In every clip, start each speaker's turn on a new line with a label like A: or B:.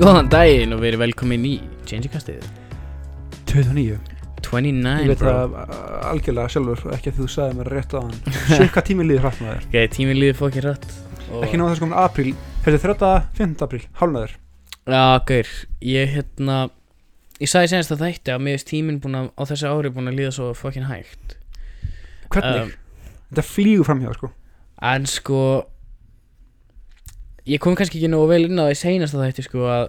A: Góðan daginn og verið velkomin í Changecastið
B: 29 Ég
A: 29
B: veit
A: bro
B: það uh, algjörlega sjálfur ekki að þú sagði mér rétt á hann Sjökk hvað tíminn líður hratt maður
A: Ok, tíminn líður fokkin rætt og...
B: Ekki náða þess komin apríl Þetta er 35. apríl, hálfnaður
A: Já, gaur, ég hérna Ég sagði senast að þætti að mér veist tíminn búin að á þessu ári búin að líða svo fokkin hægt Um,
B: Hvernig? Þetta flýgur framhjá sko
A: En sko Ég kom kannski ekki nógu vel inn á því seinasta þætti sko að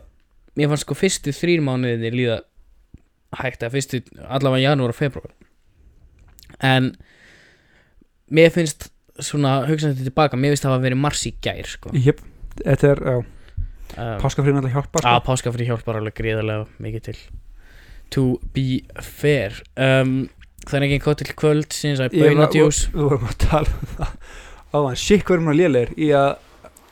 A: Mér fannst sko fyrstu þrýr mánuðinni líða hægt að fyrstu allavega janúar og februar En Mér finnst svona hugsaði þetta tilbaka Mér finnst það að vera mars í gær sko
B: Jöp, þetta er uh,
A: um,
B: páskafríðin alltaf hjálpa
A: Að
B: sko.
A: páskafri hjálpar alveg gríðarlega mikið til To be fair um, Það er ekki einn kottil kvöld sinns að
B: Ég var-
A: bönadjús
B: Við vorum að tala um það Áðan, shit hvað erum við lélegir í að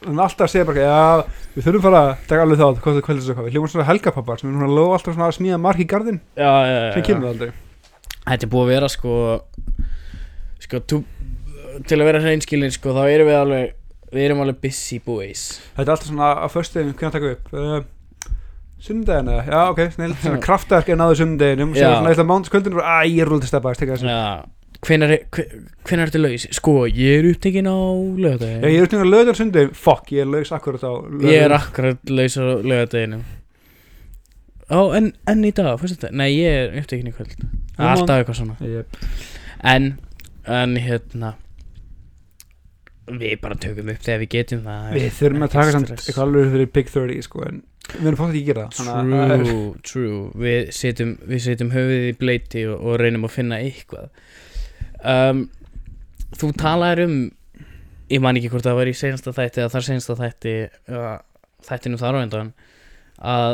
B: Við erum alltaf að segja bara Já, við þurfum bara að taka alveg þátt Hvað það kvöldis og hvað Við hljóðum svona helgapappar sem er núna að lóða alltaf svona að smíða mark í garðin
A: Já, já, já,
B: sem
A: já.
B: kemur aldrei
A: Þetta er búið að vera sko Sko, tú, til að vera hreinskilin sko, þá erum við alveg Við erum alveg busy boys
B: Þetta er alltaf svona á föstuðinu, hvernig taka við upp? Uh, sundaginn eða? Já, ok, snill, svona kraftverk er náðu sundaginnum, sem
A: Já.
B: er svona eitthvað mándskvöldinu, bara, æ, ég er rúldið stefbaðist, ekki þessi.
A: Já Hvenær, er- hve- hvenær ertu laus? Sko, ég er upptekinn á
B: Já, ég
A: lögadaginn
B: er út nýður löðar sundaginn, fuck, ég er laus akkurat á löðar.
A: Ég er akkurat laus á lögadaginn Ó, en, en í dag, fyrst þetta Nei, ég er upptekinn í kvöld Alltaf eitthvað svona
B: Yep.
A: En, en hérna Við bara tökum upp þegar við getum það það er
B: Við þurfum að
A: ekkert
B: taka samt
A: stress.
B: eitthvað alveg fyrir Big 30, sko, en við erum fótt ekki að gera það. þannig að það er-
A: True, true Við setjum, við setjum höfuðið í bleiti og, og reynum að finna eitthvað um, Þú talaðir um Ég man ekki hvort það var í seinasta þætti eða þar seinasta þætti eða þættinum þar á endan að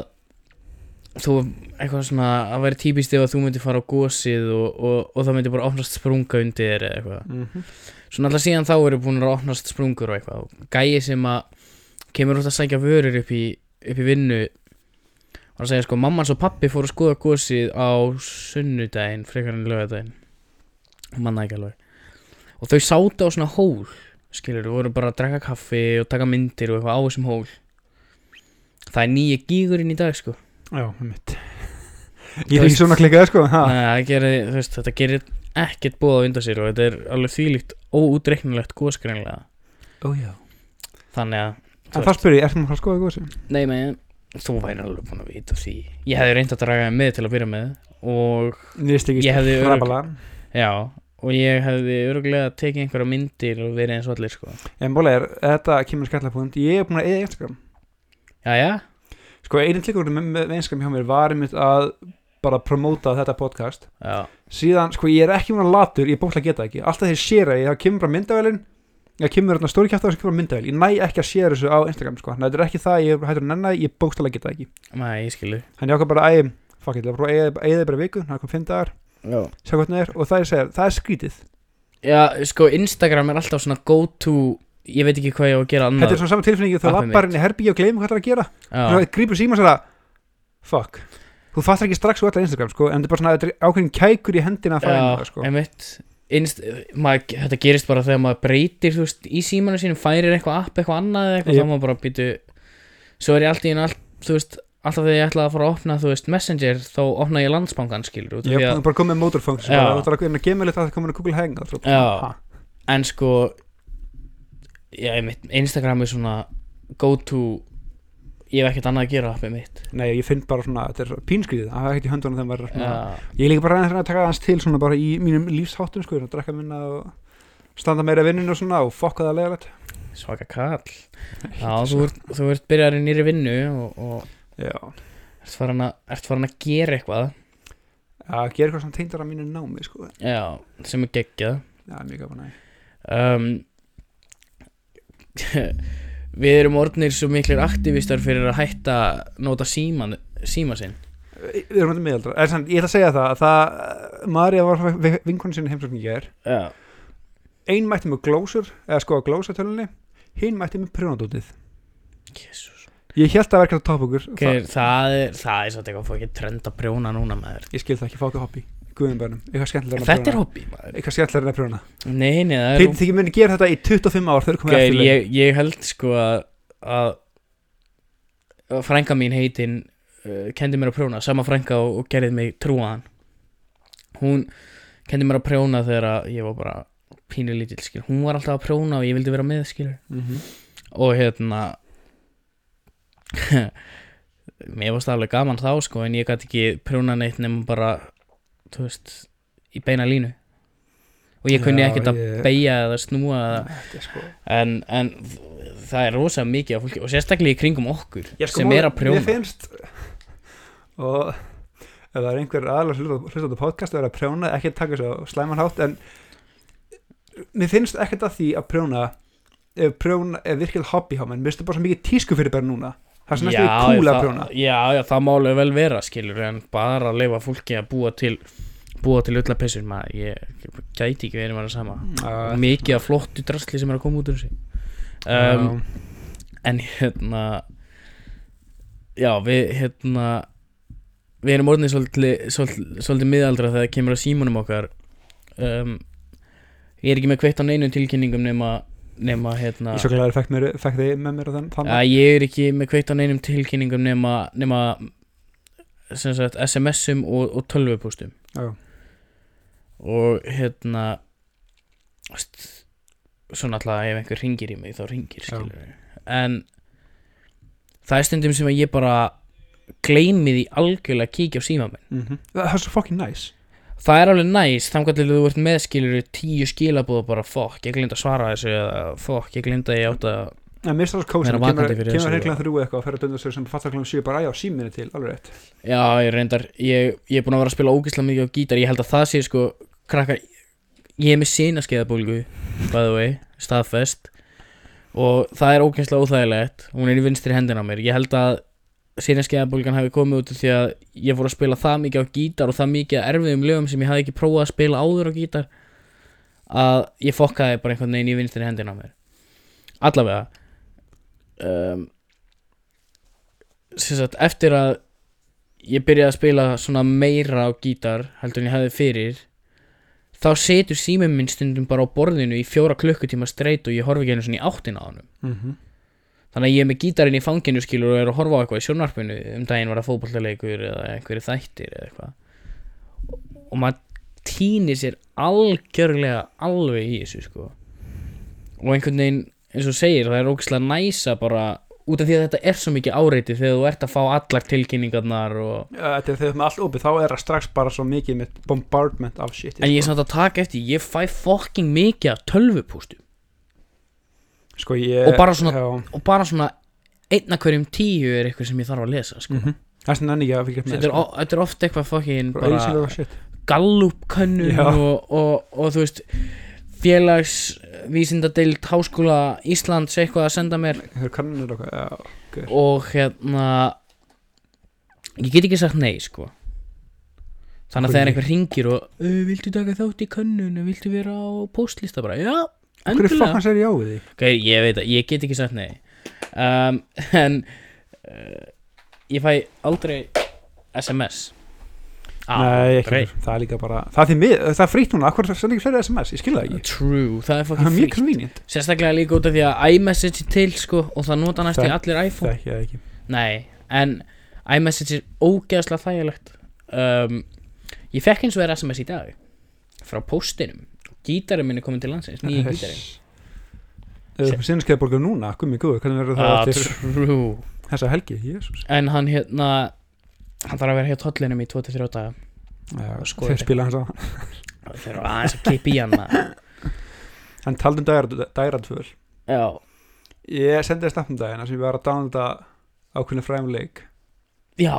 A: þú eitthvað svona að væri típist ef að þú myndi fara á gósið og, og, og það myndi bara opnast sprunga undir þér eða eitthvað
B: Mhm.
A: svona alltaf síðan þá eru búin að opnast sprungur og eitthvað og gæi sem að kemur út að sækja vörur upp í, upp í vinnu var að segja sko mamman og pappi fóru að skoða gósið á sunnudaginn frekar en lögadaginn og manna ekki alveg og þau sátu á svona hól skilur, voru bara að drekka kaffi og taka myndir og eitthvað á þessum hól það er nýja gígurinn í dag sko
B: Já, mitt. Ég er ekki svona klikkaði, sko, ha.
A: Nei, það gerir, þú veist, þetta gerir ekkert bóð á undan sér og þetta er alveg þvílíkt óútreiknilegt gósgreinlega
B: Ó, já.
A: þannig að
B: En það spyrir ég, ertu maður að skoða góðsum?
A: Nei, menn, þú væri alveg búin að vita því Ég hefði reynd að draga það með til að byrja með Og,
B: Nýðist ekki
A: Ég hefði örugg-
B: hrapalega.
A: já, og ég hefði öruglega tekið einhverja myndir og verið eins og allir, sko
B: En bólega er, þetta kemur skallapúnt, ég er búin að eða Instagram.
A: Jæja,
B: Sko, einn tilgjóðurinn með, með Instagram hjá mér var einmitt að bara promóta þetta podcast
A: já,
B: síðan, sko, ég er ekki mér latur, ég bókla geta ekki alltaf þegar sér að ég þá kemur bara myndavælin ég kemur þarna stóri kjæftar sem kemur bara myndavæl ég næ ekki að sér þessu á Instagram, sko þannig að þetta er ekki það, ég er hættur að nenni, ég bókstala geta ekki
A: maður, ég skilu
B: þannig ég ákvað bara að, fuck it, eða bara viku þannig að kom fimm dagar,
A: Já
B: sjá hvernig það er og það er, segir, það er skrítið,
A: Já, sko, Instagram er alltaf svona go to Ég veit ekki hvað ég á að gera
B: þetta
A: annað
B: er svona saman tilfinningi þú
A: Appið
B: lappar inn í herbyggi og gleymir hvað það er að gera
A: Já,
B: þannig að grípur síma sér að, fuck þú fattar ekki strax og allar Instagram, sko en þetta er bara svona, þetta er ákveðin kækur í hendina að fara inn í það,
A: já,
B: sko.
A: einmitt Inst, maður, þetta gerist bara þegar maður breytir þú veist, í símanu sínum, færir eitthvað app eitthvað annað eða eitthvað,
B: Jep.
A: þá maður bara býtu svo er ég alltaf í einu allt, þú veist alltaf þegar ég ætla að fara að opna, þú veist, Messenger þá opna ég landsbankan, skilur út af
B: Ég
A: því
B: er
A: að,
B: bara komið með motorfang sem
A: Já.
B: bara, það er að gemma litt að það komið að Google Hangout svo bara,
A: Já.
B: ha.
A: en sko já, einmitt, Instagram er svona go to ég hef ekkert annað að gera appið mitt
B: Nei, ég finn bara svona, þetta er pínskriðið það er ekkert í höndunum þegar maður er svona
A: já,
B: Ég er líka bara að reyna að taka aðeins til svona bara í mínum lífsháttum sko, að drekka minna og standa meira í vinninu og svona og fokka það leðilegt
A: svaka kall já, þú ert, þú ert byrjar í nýri vinnu og, og
B: Já,
A: ert farin að, ert farin að gera eitthvað
B: að gera eitthvað sem tengdar að mínu námi sko,
A: já, sem er geggjað
B: já, mjög gaman að
A: um, Við erum orðnir svo miklir aktivistar fyrir að hætta nota síman, síma sinn
B: Við erum þetta miðaldra, er sann, ég ætla að segja það að það, Marja var vinkonu sinni heimsókn í gær,
A: Já,
B: ein mætti með glósur, eða sko að glósa tölunni hinn mætti með prjónadótið
A: jésús
B: Ég held að það væri ekki að topa okkur
A: okay, það, er, það er svolítið eitthvað fókið trend að brjóna núna maður
B: Ég skil það ekki, fá ekki hobby Guðum bænum, eitthvað skemmtilega
A: En þetta er hobby maður
B: Eitthvað skemmtilega að prjóna
A: Nei, nei, það
B: Þeir
A: er
B: þykir muni gera þetta í 25 ár Þau eru komið
A: Geir,
B: eftir leið
A: ég, ég held sko að, að frænka mín heitin uh, kendi mér að prjóna, sama frænka og, og gerði mig trúaðan hún kendi mér að prjóna þegar að ég var bara pínu lítill skil hún var alltaf að prjóna og ég vildi vera með skil
B: mm -hmm.
A: og hérna mér varst alveg gaman þá sko en ég gæti ekki prjóna neitt nema bara þú veist, í beina línu og ég kunni
B: Já,
A: ekkert að
B: ég-
A: beigja eða snúa eða
B: Þetta er sko
A: en, en það er rosa mikið af fólki og sérstaklega í kringum okkur
B: Ég sko
A: sem
B: mál-
A: er að prjóna
B: Mér finnst og ef það er einhver aðalega hlutandi podcast að vera að prjóna, ekki að taka svo slæmanhátt en mér finnst ekkert að því að prjóna ef prjóna er virkilega hobby hjá mér mér finnst það bara svo mikið tísku fyrir bara núna það er svo næstu
A: Já,
B: því kúla
A: það-
B: að prjóna
A: já, já, það máli vel vera skilur en bara að leifa fólki að búa til búa til öll að pessur maður, ég gæti ekki verið maður að sama
B: Uh,
A: mikið af flottu drastli sem er að koma út úr þessu um, en hérna já, við hérna við erum orðinni svolítið, svolítið, svolítið miðaldra þegar kemur að símanum okkar um, ég er ekki með kveitt á neinu tilkynningum nema, nema
B: já,
A: hérna
B: ég svo glæður fekk, mér- fekk þið með mér á þann, þann
A: Já, ég er ekki með kveitt á neinum tilkynningum nema, nema sem sagt, SMS-um og, og tölvupústum
B: Já.
A: og hérna st, svona alltaf ef einhver ringir í mig þá ringir
B: Já.
A: skilur en það er stundum sem að ég bara gleymi því algjörlega að kíkja á síma minn
B: Mhm. það það er svo fucking nice
A: það er alveg næs þannig að þú ert með skilur tíu skilabúð og bara fokk, ég glinda að svara þessu eða fokk, ég glinda að ég átt að
B: en mér finnst það svo
A: Vera
B: kósi
A: vakandi fyrir þessu. sko.
B: kemur heiklega þrjú eitthvað og fer að dönda sér sem fattar klangum sjö bara já, síminni til, alveg rétt
A: Já, ég reyndar, ég, ég er búin að vera að spila ógeðslega mikið á gítar, ég held að það sé sko, krakkar, ég er með sinaskeiðabólgu, by the way, staðfest og það er ógeðslega óþægilegt, hún er í vinstri hendina á mér, ég held að sinaskeiðabólgan hafi komið út úr því að ég fór að spila það mikið á gítar og það mikið af erfiðum lögum sem ég hafði ekki prófað að spila áður á gítar að ég fokkaði bara einhvern veginn í vinstri hendina á mér, allavega, um, sem sagt, eftir að ég byrjaði að spila svona meira á gítar heldur en ég hefði fyrir þá setur síminn minn stundum bara á borðinu í fjóra klukkutíma streit og ég horfi ekki einu svona í áttina á hann
B: mm -hmm.
A: þannig að ég er með gítarinn í fanginu skilur og er að horfa á eitthvað í sjónvarpinu um daginn var það fótballtaleikur eða einhverju þættir eða eitthvað og maður týnir sér algjörlega alveg í þessu sko og einhvern veginn eins og þú segir það er ógislega næsa bara út af því að þetta er svo mikið áreiti þegar þú ert að fá allar tilkynningarnar og
B: Já, Þetta er þegar með allt opið, þá er það strax bara svo mikið mitt bombardment af shit
A: En ég er
B: sko.
A: samt að taka eftir, ég fæ fokking mikið af tölvupústum
B: Sko, ég,
A: og bara svona-
B: já,
A: og bara svona einna hverjum tíu er eitthvað sem ég þarf að lesa sko.
B: mhm. Það er svona ennig ég að fylgja
A: þetta, er, o- þetta er oft eitthvað fokkin
B: Mm, sko. Bara auðvitað
A: bara
B: og shit
A: gallupkönnun
B: Já.
A: og, og, og þú veist félagsvísindadeild háskóla Íslands eitthvað að senda mér
B: Það eru kannanir okkar, já
A: og hérna ég get ekki sagt nei sko þannig að þegar einhver ringir og "Uh, viltu taka þátt í könnun viltu vera á postlista bara já,
B: Hverju
A: endilega
B: fokkan sér ég á við því?
A: Ok, ég veit að ég get ekki sagt nei um, En uh, Ég fæ aldrei SMS Ah,
B: Nei, ekki
A: Aldrei.
B: heldur. Það er líka bara Það er því mið, það er frýtt núna, akkur sendir ekki fleiri SMS, ég skil það ekki
A: True, það er
B: Það
A: fucking
B: er mjög
A: fríkt
B: convenient
A: Sérstaklega líka út af því að iMessage er til sko Og það nota næst í
B: Það-
A: allir
B: Það
A: iPhone
B: ekki, það ekki
A: Nei, en iMessage er ógeðslega þægilegt um, Ég fekk eins og er SMS í dag Frá póstinum Gítarinn minn er komin til landsins, nýja gítarinn
B: Það er sinnskeið borgum núna, gummi guðu, hvernig verður það
A: Ah,
B: eftir
A: True
B: þessa helgi, jésús
A: En hann hérna Hann þarf að vera hér tóllinum í 2-3 daga Skoði.
B: Þeir spila hans á
A: Það fyrir aðeins að kippa í hann maður.
B: Hann taldi um dæra- dæradvöl
A: Já,
B: Ég sendi þér snappum dagina sem ég var að dánalda ákveðinu fræðum leik
A: já,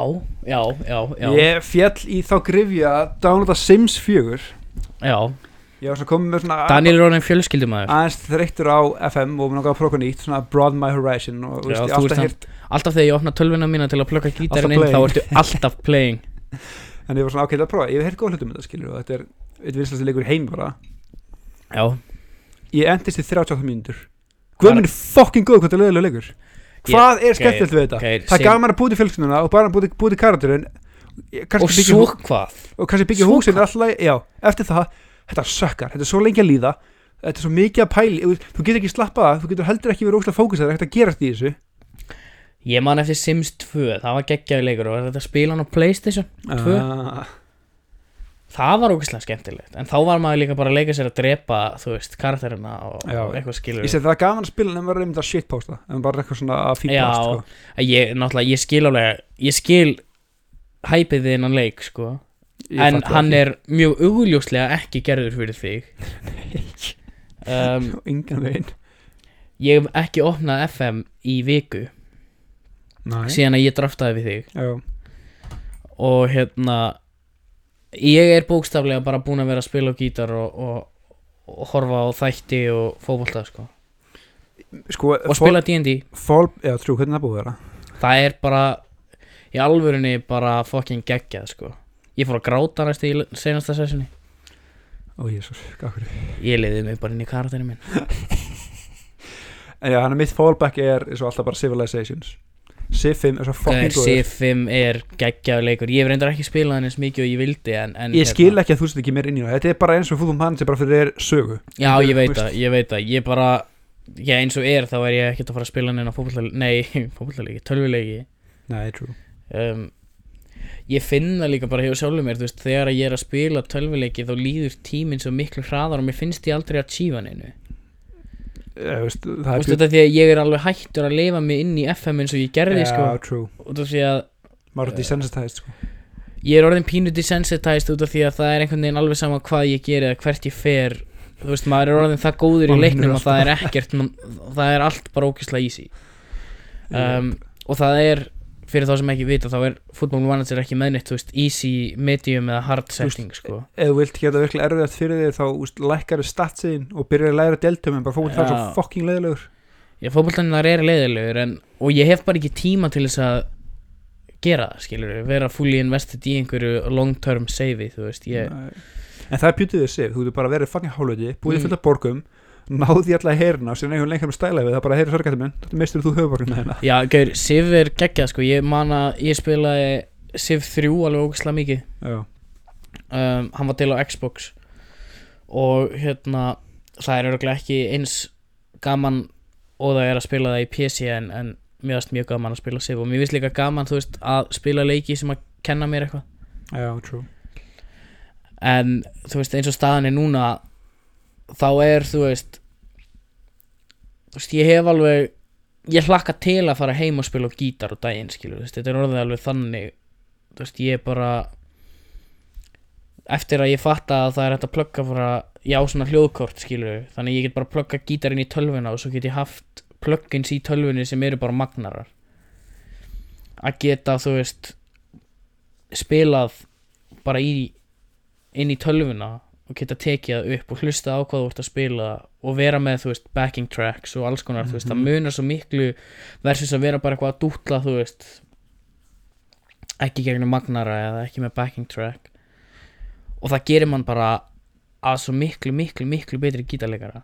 A: já, já, já,
B: Ég fjall í þá grifja að dánalda Sims 4
A: já.
B: Ég var svona komið með svona
A: Daniel er orðin fjölskyldumæður
B: aðeins þreyttur á FM og mér langaði að prófa eitthvað nýtt svona broaden my horizon og
A: Já,
B: veist, ég
A: þú
B: alltaf
A: ert
B: hýrt
A: Alltaf þegar ég opna tölvuna mína til að plugga gítarinn inn
B: Alltaf
A: þá ertu alltaf playing
B: en ég var svona ákveðið að prófa, ég hef hýrt góð hlutum um þetta skilur og þetta er eitt vinslast leikur í heim bara
A: Já,
B: ég endist í 38 mínútur Guð minn er fucking góð hvað þetta er löðilega leikur Hvað er skemmtilegt við þetta?
A: ok,
B: það
A: sem-
B: gaf maður að búti fjölskylduna og bara búti, búti karakterinn
A: og svo hvað
B: og kannski byggja
A: Svo
B: húsin alltaf, já, eftir það þetta sökkar, þetta er svo lengi að líða þetta er svo mikið að pæli, þú, þú getur ekki slappað af, þú getur heldur ekki verið óslega fókusað það er ekkert að gerast í þessu
A: Ég man eftir Sims 2, það var geggjaði leikur og var þetta að spila hann á Playstation Tvö.
B: Ah,
A: Það var ógeðslega skemmtilegt, en þá var maður líka bara að leika sér að drepa, þú veist, karakterina og
B: Já.
A: og eitthvað skilur
B: ég segi það er gaman að spila en maður er einmitt að shitposta en bara eitthvað svona að fíblast
A: Já.
B: sko.
A: Ég, náttúrulega, ég skil alveg, ég skil hæpið þið innan leik, sko
B: Ég
A: En
B: fatta það
A: hann
B: ekki.
A: er mjög augljóslega ekki gerður fyrir þig um,
B: engan veginn
A: Ég hef ekki opnað FM í viku
B: Næ.
A: síðan að ég draftaði við þig
B: Já.
A: og hérna ég er bókstaflega bara búin að vera að spila á gítar og, og, og horfa á þætti og fótbolta sko.
B: sko
A: og spila D&D
B: fall, já, trú, hvernig er það búið að vera
A: það er bara í alvörunni bara fucking geggjað sko. ég fór að gráta næstu í senasta sessioni
B: ó, jésus, gafur
A: ég leiði mig bara inn í karakterinu minn
B: en já, hann er mitt fallback er eins og alltaf bara civilizations Civ 5 er svo fucking góður
A: C5 er geggjað leikur ég hef reyndar ekki spilað hann eins mikið og ég vildi en, en hérna.
B: ég skil ekki að þú sett ekki mér inn í það þetta er bara eins og fúðum hann sem bara fyrir þér sögu
A: Já, ég veit
B: Veist.
A: það, ég veit það, ég bara Já, eins og er, þá er ég ekkert að fara að spila neina fótbollaleiki, nei, fótbollaleiki, tölvuleiki
B: nei, trú
A: um, Ég finn það líka bara hjá sjálfum mér, þú veist, þegar ég er að spila tölvuleiki þá líður tíminn svo miklu hraðar og mér finnst ég aldrei að tífa neinu
B: ég, Eh, veist, það
A: Þú
B: er
A: veist þetta því að ég er alveg hættur að lifa mig inn í FM eins og ég gerði,
B: já,
A: sko Eh,
B: trú
A: Út af því að
B: maður er desensitized sko
A: ég er orðin pínu desensitized út af því að það er einhvern veginn alveg sama hvað ég geri eða hvert ég fer Þú veist, maður er orðin það góður í
B: Maður
A: leiknum
B: finnur
A: að það er ekkert, það er allt bara ókislega easy um, og það er fyrir þá sem ekki vita þá er Football Manager ekki með neitt þú veist, easy, medium eða hard
B: veist,
A: setting sko.
B: ef þú vilt geta virkilega erfiðast fyrir þig þá úst, lækkar þið statsiðin og byrjar að læra deltum en bara fólk það er
A: Já.
B: svo fucking leiðilegur
A: ég fótballtannar er leiðilegur en, og ég hef bara ekki tíma til þess að gera það, skilur vera fully invested í einhverju long term savei, þú veist, ég
B: Nei. en það er bjútið þið sig, þú getur bara verið fucking hálfleiti búið
A: Mm.
B: mm. fullt af borgum náði alltaf að heyrna og síðan einhvern lengur með stæla við það bara heyri sorgættu minn, þetta mistur þú höfuborgum með hérna
A: Já, gaur, Sif er geggjað sko Ég man að ég spilaði Sif 3 alveg ógæslega mikið
B: já,
A: um, Hann var til á Xbox Og hérna Það er örgulega ekki eins gaman Og það er að spila það í PC En, en mér varst mjög gaman að spila Sif Og mér finnst líka gaman, þú veist, að spila leiki Sem að kenna mér eitthvað
B: já, trú
A: En, þú veist, eins og staðan er núna Þá er, þú veist Þú veist, ég hef alveg Ég hlakka til að fara heim og spila á gítar og daginn, skilur, þú veist, þetta er orðið alveg þannig Þú veist, ég er bara Eftir að ég fatta að það er hægt að plugga bara Já, svona hljóðkort, skilur Þannig að ég get bara plugga gítarinn í tölvuna Og svo get ég haft plugins í tölvunni sem eru bara magnarar Að geta, þú veist Spilað bara í inn í tölvuna og geta tekið það upp og hlusta á hvað þú ert að spila og vera með, þú veist, backing tracks og alls konar, þú veist, það
B: Mhm.
A: munar svo miklu versus að vera bara eitthvað að dútla, þú veist ekki gegnum magnara eða ekki með backing track og það gerir mann bara að svo miklu, miklu, miklu betri gítarleikara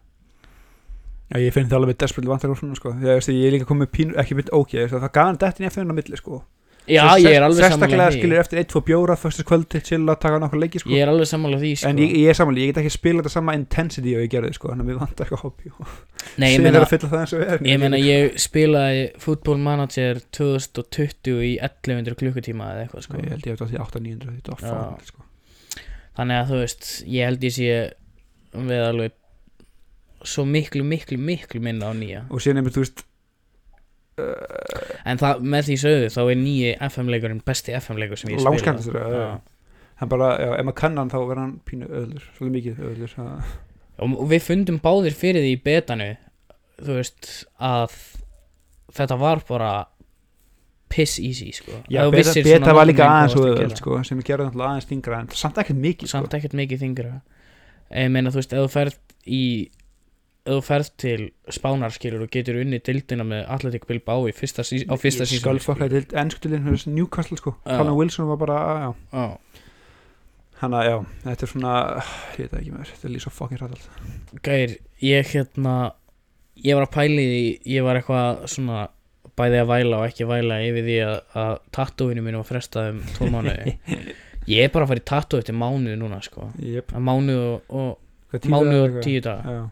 B: Já, ég finn það alveg desperately vantar á svona, sko. Ég, veist, ég er líka komið pínu, ekki mynd ok, veist, það gaf hann dettin í FN á milli, sko.
A: Já,
B: Svo
A: ég er alveg
B: Sérstaklega
A: sammála því
B: skilur eftir 1-2 bjóra, fyrstu kvöldi, chilla, taka nokkur leiki, sko.
A: Ég er alveg sammála því, sko
B: En ég, ég er samanlega, ég get ekki spila þetta sama intensity og ég gerði, sko, þannig að mér vantar eitthvað hobby.
A: Nei, ég
B: Síðan
A: meina,
B: er að fylla það eins og er.
A: ég meina, ég spilaði Football Manager 2020 í 1100 klukkutíma eða eitthvað, sko
B: Sko, ég held ég hef þetta 8-900, þetta var
A: Já.
B: fang, sko.
A: Þannig að þú veist, ég held ég sé við alveg svo miklu, miklu, miklu minna á nýja
B: Og síðan einmitt, þú veist,
A: En það, með því sögðu, þá er nýji FM-leikurinn besti FM-leikur sem ég spila
B: langskæmstur, já, já. eh, hann bara, já, ef maður kann hann, þá verður hann pínu öðlur, svolítið mikið öðlur. það-
A: Og og við fundum báðir fyrir því í betanu Þú veist, að þetta var bara piss easy, sko
B: Já,
A: Ef þú
B: beta,
A: vissir
B: beta
A: svona
B: var líka
A: nákvæmlega hvað
B: aðeins og
A: þú varst að
B: öðvöld,
A: gera.
B: sko, sem ég gerði náttúrulega aðeins þingra, en samt ekkert mikið, sko.
A: Samt ekkert mikið þingra Ég meina, þú veist, ef þú ferð í ef þú ferð til spánarskilur og getur unni dildina með Atletic Bilbao í fyrsta, sí- á fyrsta sísoni
B: skálfokkaði til ennskutildin fyrir Newcastle sko
A: Já.
B: Callum Wilson var bara já.
A: Já,
B: hann að já þetta er svona ég veit það ekki mér þetta er líka svo fucking rætt allt
A: Gær, ég hérna ég var að pæli því, ég var eitthvað svona bæði að væla og ekki væla yfir því að, að tattúinu mínu var frestað um tvo mánuði ég er bara að fara í tattú eftir mánuð núna sko
B: jöp
A: Að mánuð og, og mánuð og tíu daga
B: já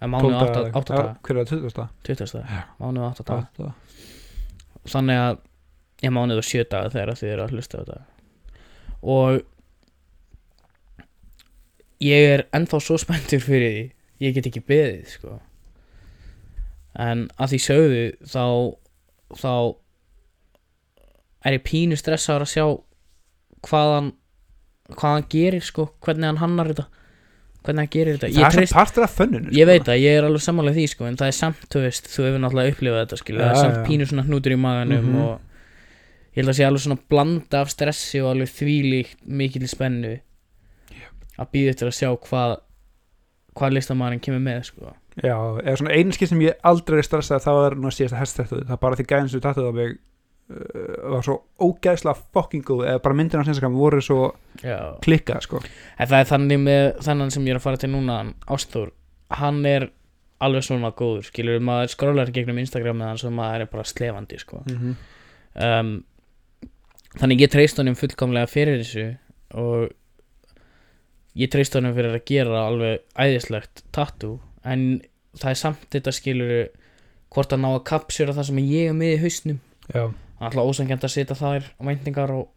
A: Að mánuð og átta- átta daga,
B: hver er það 20
A: tuttast
B: Já.
A: daga mánuð og átta daga
B: daga
A: þannig að ég mánuð og sjö daga þegar þið eru að hlusta á þetta og ég er ennþá svo spenntur fyrir því ég get ekki beðið sko en að því sögðu þá þá er ég pínu stressaður að sjá hvað hann hvað hann gerir sko, hvernig hann hannar þetta hvernig hann gerir þetta
B: það
A: ég,
B: er
A: treyst,
B: sem partur af sko. fönnunum
A: ég veit að ég er alveg sammálega því sko, en það er samt, þú veist, þú hefur náttúrulega upplifað þetta skilur, það
B: Já,
A: er samt
B: já.
A: pínu svona hnútur í maganum
B: Mhm.
A: og ég held að sé alveg svona blanda af stressi og alveg þvílíkt mikil spennu að býða eftir að sjá hvað hvað listamæðurinn kemur með sko.
B: Já, eða svona einski sem ég aldrei er stressað þá er nú að síðast að hest þetta það er bara því gæðin sem tattuð á mig uh, var svo ógæðslega fucking góð eða bara myndin á sinnskam voru svo
A: Já.
B: klikkað sko
A: En það er þannig með þannig sem ég er að fara til núna hann, Ástór, hann er alveg svona góður, skilur maður skrólar gegnum Instagram með hann sem maður er bara slefandi sko.
B: mm -hmm.
A: um, Þannig ég treyst honum fullkomlega fyrir þessu og ég treyst honum fyrir að gera alveg æðislegt tattoo en það er samt þetta skilur hvort að ná að kapsjöra það sem ég er með í hausnum
B: Já,
A: Það er alltaf ósangjönd að setja þær væntingar og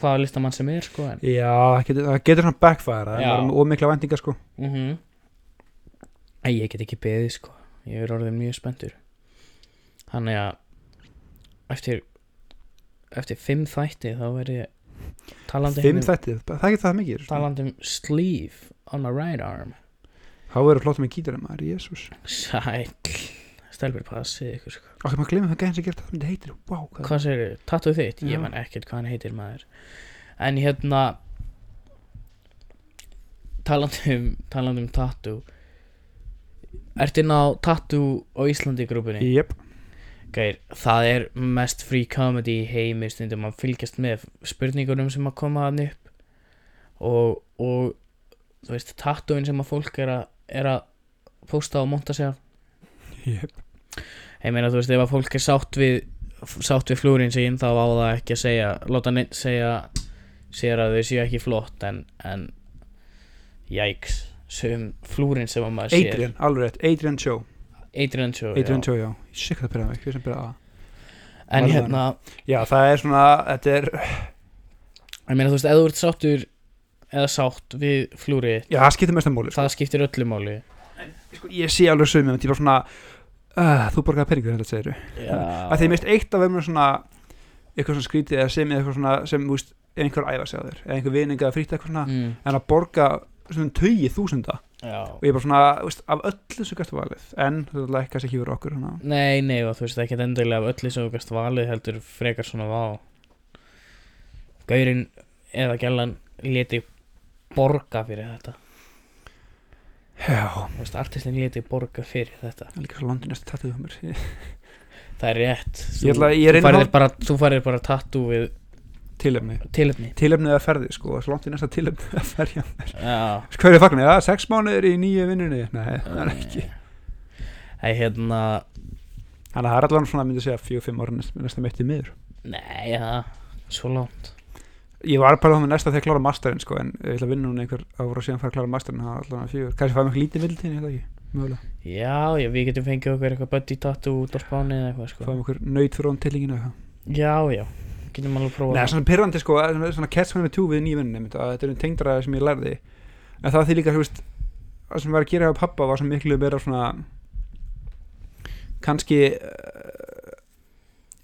A: hvaða listamann sem er sko en
B: Já það, getur, það getur svona backfire það
A: Já.
B: er með ómikla vendinga sko
A: mm -hmm. Ég get ekki beðið sko Ég er orðin mjög spenntur Þannig að Eftir Eftir fimm þætti þá verði ég Talandi
B: Fimm
A: hérna-
B: þættið, það getur það mikið sko.
A: Talandi um sleeve on my right arm
B: Þá verður flott með gítarinn maður, jésús
A: Sæll Stelbur passið ykkur sko
B: Ok, maður glemir það gæðin sem gert það myndi heitir, wow hvað-
A: Hvað segir Tattoo þitt?
B: Já.
A: Ég man ekkert hvað hann heitir maður En hérna Talandi um Talandi um tattoo Ertu inn á tattoo á Íslandi grúpunni?
B: Jep,
A: Gæir, það er mest free comedy í heimi stundum að fylgjast með spurningunum sem að koma hann upp og, og þú veist, tattúin sem að fólk er að, er að posta og monta sig af
B: jep
A: ég meina þú veist, ef að fólk er sátt við sátt við flúrin sín þá á það ekki að segja láta neitt segja sér að þau séu ekki flott en, en jæks sem flúrin sem að maður
B: Adrian, alveg rétt, Adrian Cho
A: sér Adrian Cho, já.
B: Adrian Cho, já, sikk það byrjaði mig, hver sem byrjaði að
A: en
B: Varð
A: hérna
B: Já, það er svona, þetta er
A: ég meina þú veist, ef þú ert sáttur eða sátt við flúrið
B: Já, það skiptir mest að móli
A: það skiptir öllu máli
B: sko, ég sé alveg sömu en ég var svona uh, þú borgaði peningur þetta segir
A: Já.
B: að því mist eitt af þeim er svona eitthvað svona skrítið eða sem eitthvað svona sem þú veist einhver æfa sig á þér eða einhver vininga frýtt eitthvað svona
A: mm,
B: en að borga svona tögi þúsunda
A: já.
B: og ég er bara svona þú veist, af öllu sem gæstu valið en þetta er ekki ekki fyrir okkur hana.
A: nei, nei, og þú veist ekki endilega af öllu sem þú gæst valið heldur frekar svona vá Gaurinn eða gælan leti borga fyrir þetta
B: já
A: þú veist, artistin leti borga fyrir þetta
B: það er líka svo landið næstu tattuð hjá mér
A: það er rétt
B: Ég ætla- ég
A: þú
B: reyni
A: farir
B: hálf-
A: bara, þú farir bara tattoo við
B: tilefni
A: tilefni
B: tilefnið að ferði sko svo landið næsta tilefnið Sko, að ferja
A: já
B: hverju fagnar ég að sex mánuðir í nýju vinnunni nei það er ekki
A: Nei, hérna,
B: þannig að það er allan svona myndi segja fjög fimm orðin næsta meitt í miður
A: nei, ja, svo langt
B: Ég var bara með næsta þegar ég klára masterinn sko, en ég ætla að vinna núna einhver ára og síðan fara að klára masterinn það er allavega fjögur, kannski fæðum eitthvað lítið vildin ég veit það ekki, mögulega,
A: Já, já, við getum fengið okkur eitthvað buddy tattoo út á spáni eða eitthvað sko
B: fæðum eitthvað nöyt fyrir hún tillinginu eitthvað.
A: Já, já, getum alveg
B: Nei,
A: prófað það.
B: það er svona pirrandi sko, það er svona catch með tjú við nývinni mitt, að þetta er einn tengdara sem ég lærði en það var því líka, þú veist það sem var að gera hjá pappa var svona miklu meira svona kannski uh,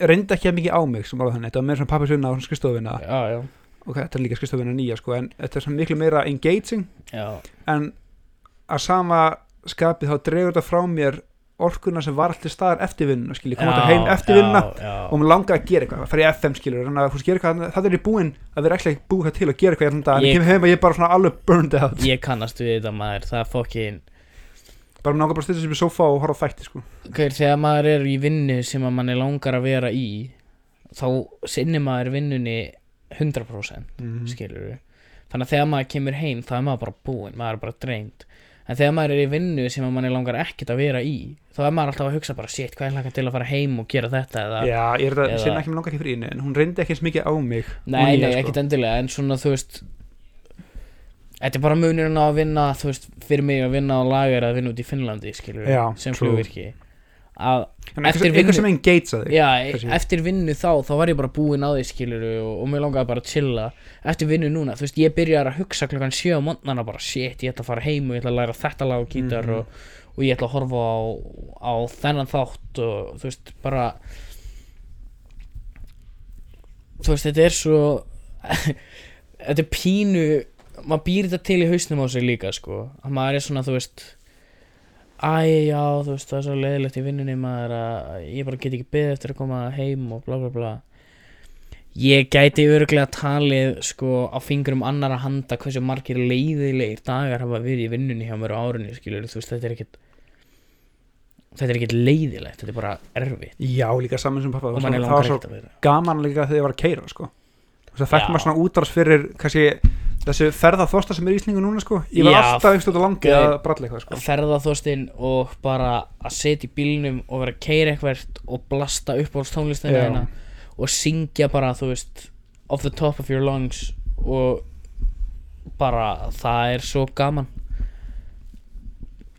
B: reyndi ekki að mikið á mig sem alveg þannig, þetta var meira svona pappi sunna á svona skristofina,
A: Já, já,
B: ok, þetta er líka skristofina nýja sko, en þetta er svona miklu meira engaging
A: já,
B: en að sama skapi þá dregur þetta frá mér orkuna sem var alltaf staðar eftir vinnuna skilji, kom þetta
A: Já,
B: heim eftir vinnuna
A: já, já.
B: og mér langaði að gera eitthvað, fara í FM skilur þannig að þú veist, gera eitthvað, það er ég búinn að vera ekki búið það til að gera eitthvað ég, ég,
A: Ég-
B: ég kemur heim og ég er bara svona alveg burned out
A: Ég kannast við þetta maður, það er fokkin
B: bara mér langar bara að styrja sér í sofa og horfa á þætti sko.
A: Hver, þegar maður er í vinnu sem að manni langar að vera í þá sinnir maður vinnunni 100%
B: mm.
A: skilur við þannig að þegar maður kemur heim þá er maður bara búinn, maður er bara dreind en þegar maður er í vinnu sem að manni langar ekkert að vera í þá er maður alltaf að hugsa bara shit, hvað er langar til að fara heim og gera þetta eða
B: já, ég er þetta,
A: Eða-
B: sinna ekki mér langar ekki fyrir inni en hún reyndi ekki eins mikið á mig
A: Nei,
B: hún nýja,
A: nei,
B: sko.
A: ekkert endilega, en svona, þú veist Þetta er bara munurinn á að vinna, þú veist, fyrir mig að vinna á lagar að vinna út í Finnlandi, skilur
B: Já,
A: sem
B: true.
A: flugvirki að
B: En eitthvað,
A: Eftir
B: sem- eitthvað
A: vinnu-
B: sem engage að þig
A: Já,
B: Þessi-
A: eftir vinnu þá, þá var ég bara búinn á því skiluru og, og mér langaði bara að chilla Eftir vinnu núna, þú veist, ég byrjar að hugsa klokkan sjö á mondnana bara Shit, ég ætla að fara heim og ég ætla að læra þetta lag og gítar
B: Mhm.
A: og, og ég ætla að horfa á, á þennan þátt og þú veist, bara Þú veist, þetta er svo Þetta er pínu, maður býr þetta til í hausnum á sig líka, sko Að maður er svona, þú veist Æ, já, þú veist, það er svo leiðilegt í vinnunni maður að ég bara get ekki beðið eftir að koma heim og bla bla bla Ég gæti örglega talið sko á fingrum annara handa hversu margir leiðilegir dagar hafa verið í vinnunni hjá mér á árunni, skilur, þú veist, þetta er ekkit þetta er ekkit leiðilegt, þetta er bara erfitt
B: Já, líka saman sem pappa
A: og
B: Það
A: mann er
B: var það var
A: langar
B: svo
A: ekkert að vera
B: gaman líka þegar ég var að keira sko. Þess að fekk
A: Já.
B: maður svona útars fyrir kannski, þessu ferða þosta sem er í Íslingu núna sko. Ég var
A: Já,
B: alltaf einhvern veginn langið
A: gaur.
B: að bralla eitthvað sko.
A: ferðaþóstinn og bara að setja í bílnum og vera að keira eitthvert og blasta upp á tónlistina
B: Já.
A: hérna og syngja bara, þú veist, off the top of your lungs og bara, það er svo gaman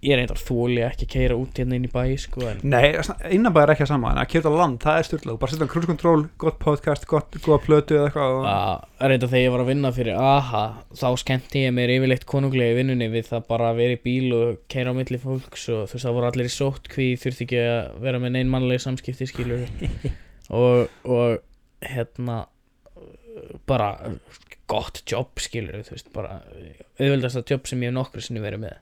A: ég er einnig að þóli ekki að keira út hérna inn í bæ, sko, en
B: Nei, innanbæð er ekki að sama en að kyrta land, það er styrlað bara setja cruise control, gott podcast, gott, góða plötu eða eitthvað
A: Ah.
B: og...
A: að reynda þegar ég var að vinna fyrir AHA þá skemmti ég mér yfirleitt konunglega í vinnunni við það bara að vera í bíl og keira á milli fólks og þú veist það voru allir í sótkví þurfti ekki að vera með neinn mannlega samskipti skilur og, og hérna bara gott jobb skilur þú veist bara auðveldasta jobb sem ég hef nokkru sinni verið með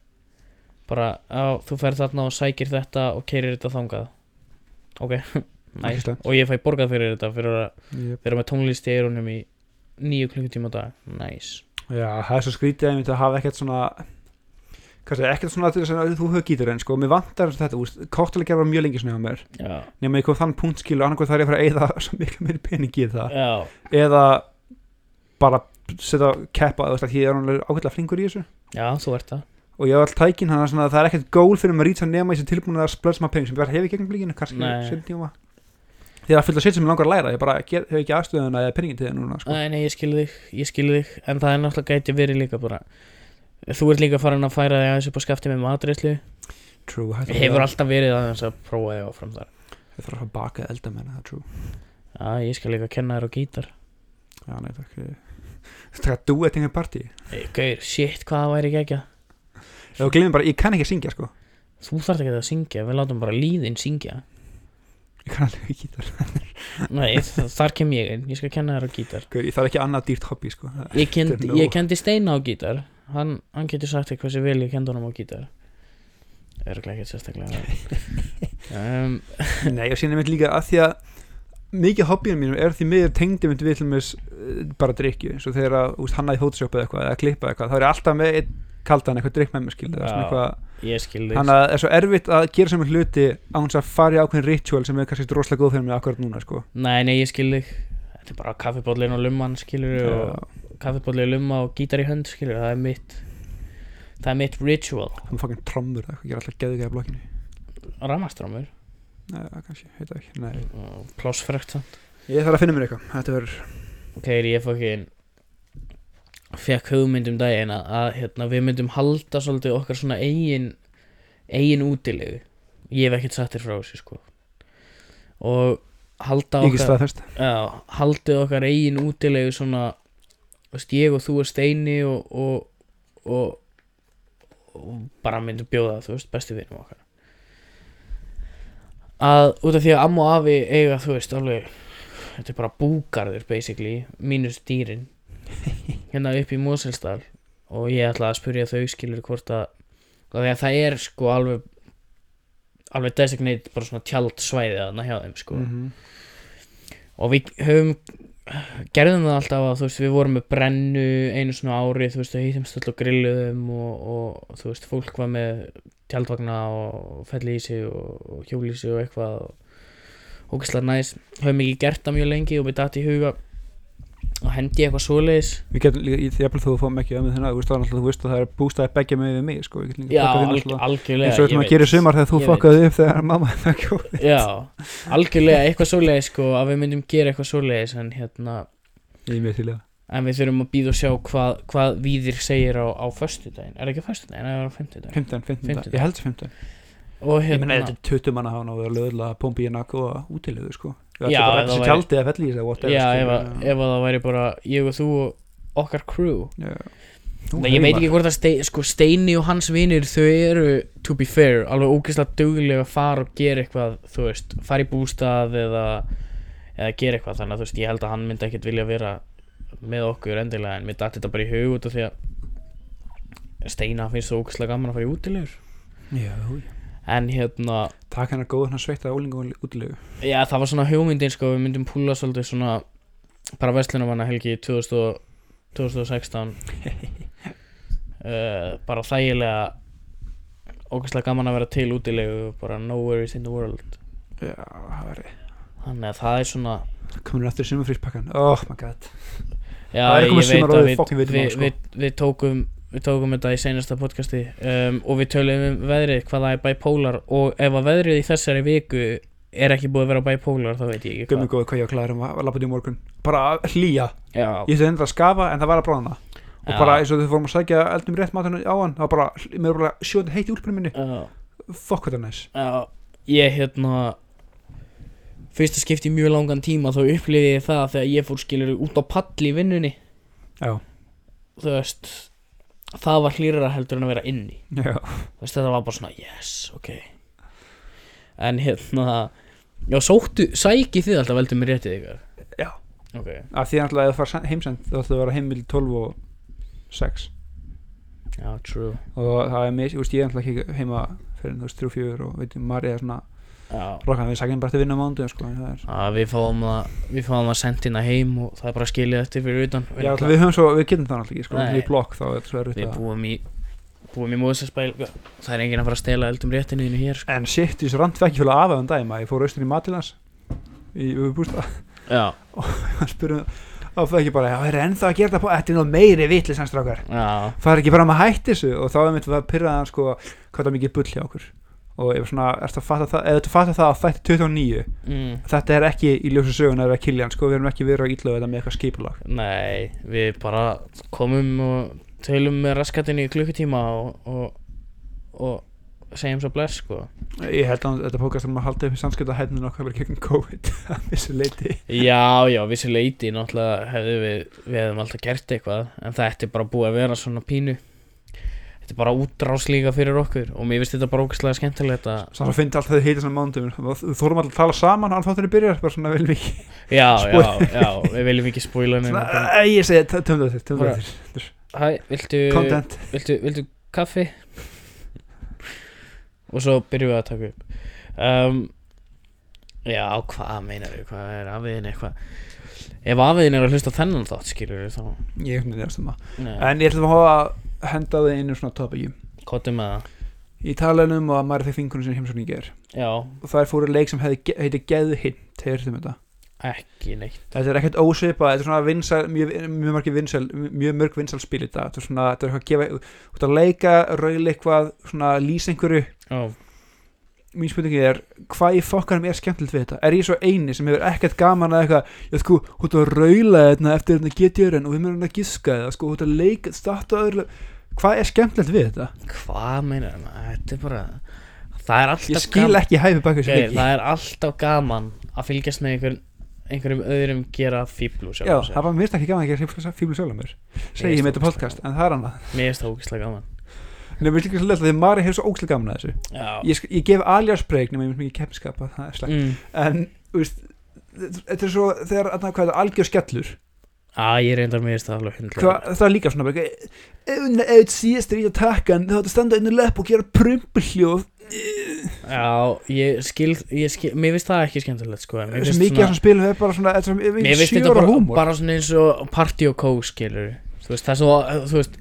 A: bara á, þú ferð þarna og sækir þetta og keirir þetta þangað ok, næst
B: Ægislega.
A: og ég fæ borgað fyrir þetta fyrir að
B: Jöp.
A: vera með tónlist í eyrunum í nýju klukkutíma á dag nice.
B: Já, það er svo skrítið að ég myndi að hafa ekkert svona kannski ekkert svona til þess að þú höfðu gítur en sko, mér vantar þetta, úst, kóttalega var mjög lengi svona hjá mér
A: já,
B: nema ég kom þann punkt skilu, annarkoð þarf ég að fara að eyða svo mikið meiri peningi í það
A: já,
B: eða bara setja keppa þú veist að ég er alveg ákveðlega flinkur í þessu
A: já, þú ert það
B: og ég hef all tækin hann að það er ekkert gól fyrir maður að rýta nema þessi tilbúinu að splöðsma pening sem ég bara hef í gegnum blíkinu kannski
A: Nei.
B: sem tíma því það er fullt af shit sem ég langar að læra ég bara get, hef ekki aðstöðuna eða peningin til það núna sko.
A: Æ, nei, ég skil þig, ég skil þig en það er náttúrulega gæti verið líka bara þú ert líka farin að færa þig aðeins upp á skafti með matreyslu
B: true, hættu að-
A: hefur alltaf verið aðeins að prófa þig áfram þar
B: ég þarf að fara að baka eða elda menna það er true
A: já, ég skal líka kenna þér á gítar
B: já, nei, takk þú takk að duet einhver partí
A: Ey, Gaur, shit, hvað það væri ekki ekki
B: og glemir bara, ég kann ekki að syngja sko
A: þú þarft ekki að syngja, við látum bara líðin syngja
B: ég kann alveg ekki gítar
A: nei, þ- þar kem ég inn, ég skal kenna þér á gítar
B: Gaur, ég þarf ekki annað dýrt hobby sko Það-
A: ég, kend,
B: Þetta er nóg.
A: ég kendi Steina á gítar hann, hann getur sagt þér hversu vel ég kendi honum á gítar örglega ekkert sérstaklega vel. um,
B: Nei, og síðan er mitt líka að því að mikið hobbyinu mínum er því miður tengdi mynd við til dæmis eh, bara drikju eins og þegar að úst, hanna í Photoshop eða eitthvað eða klippa eitthvað, þá er ég alltaf með einn kaldan eitthvað drikk með mér skil það er svona
A: Já.
B: eitthvað
A: ég skil þig
B: þannig að það er svo erfitt að gera sem hluti án þess að fara í ákveðin ritual sem er kannski droslega góð fyrir mig akkurat núna sko
A: nei, nei, ég skil þig þetta er bara kaffibóllin og lumman skilur
B: Já.
A: og kaffibóllin og lumma og gítar í hönd skilur það er mitt það er mitt ritual
B: það er fucking trommur eða eitthvað, ég er alltaf geðugæði að blokkinu
A: ramastrámur
B: Nei, það kannski, heit það ekki, nei
A: plossfrökt samt
B: Ég þarf að finna mér eitthvað, þetta verður
A: Þegar ég fokkin fekk hugmyndum um daginn að, að hérna, við myndum halda svolítið okkar svona eigin eigin útilegu ég hef ekkert sagt þér frá þessu sko og halda
B: ekki
A: okkar
B: staðfest
A: já, haldið okkar eigin útilegu svona þú veist, ég og þú og Steini og, og, og, og bara myndum bjóða þú veist, bestu vinum okkar að út af því að amma og afi eiga þú veist alveg þetta er bara búgarður basically mínus dýrin hérna upp í Moselstall og ég ætla að spyrja þau skilur hvort að af því að það er sko alveg alveg designate bara svona tjaldsvæði þarna hjá þeim sko
B: Mhm.
A: og við höfum gerðum það alltaf að þú veist við vorum með brennu einu svona ári þú veist við hýttumst alltaf grilluðum og, og þú veist fólk var með tjaldvagna og fellísi og, og hjólísi og eitthvað og ógæslega næs höfum ekki gert það mjög lengi og við dati í huga og hendi eitthvað svoleiðis
B: Við getum líka, ég- jafnvel þó þú fórum ekki ömmuð þína, þú veist, þá er náttúrulega- þú veist að það er bústaði begja með við mig, sko, ég get líka
A: já
B: bókað þín
A: alg,
B: alltaf.
A: algjörlega
B: eins og
A: ég
B: þetta
A: veit.
B: maður gerir sumar þegar þú
A: Ég veit.
B: fokkaði upp þegar mamma það kjóði
A: já algjörlega eitthvað svoleiðis sko að við myndum gera eitthvað svoleiðis en hérna
B: ég er mjög til í það
A: En við þurfum að býða og sjá hvað, hvað Víðir segir á, á föstudaginn Er það ekki á föstudaginn, eða er það á fimmtudaginn
B: 15, 15,
A: Fimmtán.
B: ég held þessi 15
A: og
B: Ég meina
A: hérna
B: þetta er 20 manna hán og verður löðla Pompi í nakk og útilegu sko
A: Já, ef það
B: Það er
A: væri-
B: tjaldið að felli í þess að whatever
A: já, ef,
B: skilur,
A: að, ef að það væri bara ég og þú og okkar crew
B: Já.
A: Nei, ég veit ekki hvort að Ste- sko, Steini og hans vinir þau eru, to be fair, alveg ógeðslega duglega að fara og gera eitthvað, þú veist, fara í bústað eða, eða gera eitthvað, þannig að þú veist, ég held að hann myndi ekkert vilja vera með okkur endilega, en mér datt þetta bara í hug út af því að Steina finnst það ógeðslega gaman að fara í útilegur,
B: Já, já.
A: en hérna,
B: Takk hennar góð hann sveita ólingu og útilegu
A: Já, það var svona hugmyndin sko, við myndum púla svolítið svona bara Vestlunamanna helgi 2000 og- 2016 uh, bara þægilega ógæslega gaman að vera til útilegu bara no worries in the world
B: Já, það var
A: þannig að það er svona
B: komin aftur í sumafríspakkan Oh my god
A: Já,
B: Það er
A: ég
B: komið sumar
A: veit
B: og
A: að
B: við
A: við,
B: fucking
A: við,
B: vitum
A: við,
B: það, sko.
A: við, tókum við tókum þetta í seinasta podcasti um, og við töluðum um veðrið hvað það er bipolar og ef að veðrið í þessari viku er ekki búið að vera bipolar þá veit ég ekki
B: Gummi góð hvað ég og Klara erum að lappa því morgun Bara að hlýja
A: Já,
B: Ég ætti endur að skafa en það var að brána Og
A: Já.
B: bara eins og þau fórum að sækja eldum rétt matunum á hann Það var bara, mér var bara sjóðan heitt í úlpunum minni
A: já.
B: Fuck what a nice
A: Já, ég hérna Fyrsta skipti í mjög langan tíma þá upplifði ég það þegar ég fór skilur út á palli í vinnunni
B: Já,
A: Þú veist, það var hlýrara heldur en að vera inni
B: já,
A: Þú veist, þetta var bara svona, yes, ok En hérna, já, sóttu, sæki þið alltaf veldu mér réttið ykkar
B: já.
A: Ok,
B: Af Því að ef þú fara heimsend þá ætlaðu að vera heimil 12 og 6
A: já, true
B: og það er mis, ég veist, ég er náttúrulega ekki heima fyrir þú veist, þrjú, fjör og veit, Marja er svona
A: Já,
B: rokkan við sækjum bara til að vinna á mánu sko, en það er
A: að við fáum það, við fáum það sendina heim og það er bara skilið eftir fyrir utan
B: Já, alltaf, við höfum svo, við getum það náttúrulega ekki, sko,
A: Nei.
B: í blokk þá er svo erfitt
A: Við
B: að
A: búum í, búum í Móðsaspæl Það er enginn að fara að stela eldum réttinu þínu hér sko.
B: En shit, þessu randfækki fjöla af að um dæma, ég fór austur í Matilans í öfubústa,
A: Já,
B: spyrum þá fyrir ekki bara, já, það er ennþá að gera það på þetta er nú meiri vitlis hans strákar,
A: já,
B: það er ekki bara maður hætti þessu og þá er mitt að pyrra hann sko hvað það er mikið bull hjá okkur og ég var svona, ertu að fatta það, eða þú fatta það að þetta 29,
A: mm,
B: þetta er ekki í ljósu söguna að vera kiljan, sko, við erum ekki verið á ítlaðu þetta með eitthvað skipulag
A: nei, við bara komum og tölum með raskatinn í klukkutíma og, og, og segjum svo bless sko.
B: Ég held að þetta pókast um að halda upp í samskipta hæfninu okkar verið gegn COVID að vissu leiti
A: Já, já, vissi leiti náttúrulega hefðu við, við hefðum alltaf gert eitthvað en þetta er bara búið að vera svona pínu Þetta er bara útrás líka fyrir okkur og mér finnst þetta bara ógæslega skemmtilegt að
B: Svo finnst alltaf þau heita svona mándum Þú þórum alltaf að tala saman án þáttunni byrjar bara svona vel mikið
A: Já, já,
B: Spoil-
A: já, við viljum ekki spóila
B: Svona,
A: neina
B: æ, Ég segi, t- tömdu þetta, tömdu
A: Bara-
B: þetta
A: Hæ, viltu,
B: Content
A: viltu, viltu kaffi? og svo byrjum við að taka upp um, Já, hvað meinar við, hvað er afiðin eitthvað Ef afiðin er að hlusta á þennan þátt skilur við þá
B: Eh, Ég er hvernig næstum að
A: Nei,
B: En ég ætlum að hafa að henda þau einu svona topiki
A: Kottum með það
B: Í talanum og að maður fekk fingrunum sinni heimsókn í ger
A: Já,
B: Og það er fóru leik sem hefði- heiti Geðhinn Þegar um þetta þetta
A: ekki neitt
B: Þetta er ekkert ósvipað, þetta er svona vinsæl, mjög, mjög, margir vinsæl, mjög mörg vinsæl spil í dag, þetta er svona, þetta er eitthvað að gefa, út að leika, raula eitthvað, svona lýsa einhverju,
A: Já,
B: mín spurningi er, hvað í fokkanum er skemmtilegt við þetta? Er ég svo eini sem hefur ekkert gaman að eitthvað, já sko, út að raula þetta eftir þetta getjörn og við mér erum að giska það, sko, út að leika, starta öðru, hvað er skemmtilegt við þetta?
A: hvað meinar það, þetta er bara Það er alltaf
B: Ég skil
A: gaman
B: ekki hæfi baka þessu
A: Gauir,
B: leiki.
A: Það er alltaf gaman að fylgjast með einhver, einhverjum öðrum gera fíblu
B: Já, það var mérst ekki gaman að gera fíblu sjálf að mér, segi ég með þetta podcast, en það er annað.
A: Mér finnst það ógislega gaman
B: Nei, mér líka svo leitt að því að Mari hefur svo ógstilega gaman að þessu.
A: Já,
B: ég, sk- ég gef alias break nema ég mynd mikið keppniskap að það er slæmt
A: mm.
B: en þú veist þetta þetta er svo þegar aðna, hvað er það algjör skellur
A: Á, ég reyndar mér það alveg hundra
B: hvað, það er líka svona bara eitthvað eða eitt síðast er í að taka en þá þetta standa einu lepp og gera prumpuhljóð
A: Já, ég skil, ég skil Mér finnst það ekki skemmtilegt sko en Mér
B: þessu
A: finnst,
B: mikið af
A: svona,
B: þessum spilum er bara svona þetta er
A: mér
B: svona
A: finnst þetta
B: sjóra
A: bara,
B: húmor
A: bara svona eins og party og kó skilur Þú veist, það er svo, þú veist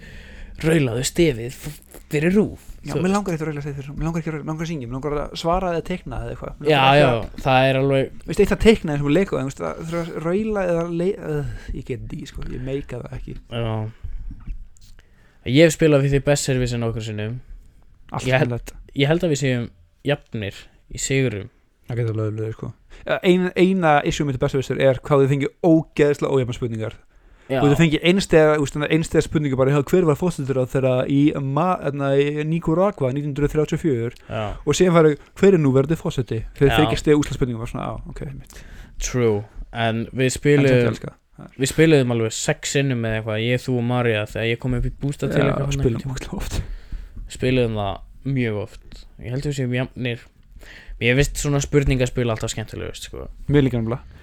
A: Raulaðu stefið f- fyrir rúf
B: já,
A: þú
B: mér
A: veist.
B: langar eitthvað að reyla að segja þér mér langar ekki að reyla, mér langar að syngja, mér langar að svara eða teikna eða eitthvað Mig
A: Já,
B: langar ekki
A: já,
B: að-
A: það er alveg
B: Þú veist, eitt að teikna eins og leika það, þú veist, að þurfa að reyla eða leika uh, ég get því, sko, ég meika það ekki
A: já. Ég hef spilað við því best service en okkur sinnum
B: allt
A: Ég-
B: yeah.
A: Ég held að við séum jafnir í sigurum
B: Það getur alveg lögur sko Ein, Eina issue mitt bestu vistur er hvað þið fengið ógeðslega ójæfna spurningar
A: já,
B: og þú fengið einstega, þú veist, þannig að einstega spurningu bara hjá hver var fósildur á þeirra í, Ma- þarna í Nicaragua 1934
A: já,
B: og síðan færu hver er núverðið fósildi
A: Já.
B: þegar þeir ekki stega úslagsspurningum var svona á, ok, mitt,
A: true En við
B: en þetta er
A: spiluðum
B: elska
A: Við spiluðum alveg sex sinnum eða eitthvað Ég, þú og Marja þegar ég kom upp í bústa til
B: Já,
A: ykkar þarna einhvern
B: spilum
A: tímann.
B: ógeðslega oft
A: Spiluðum það mjög oft Ég held við séum jafnir Ég veist svona spurningaspil alltaf skemmtilegust sko.
B: Mér líka nefnilega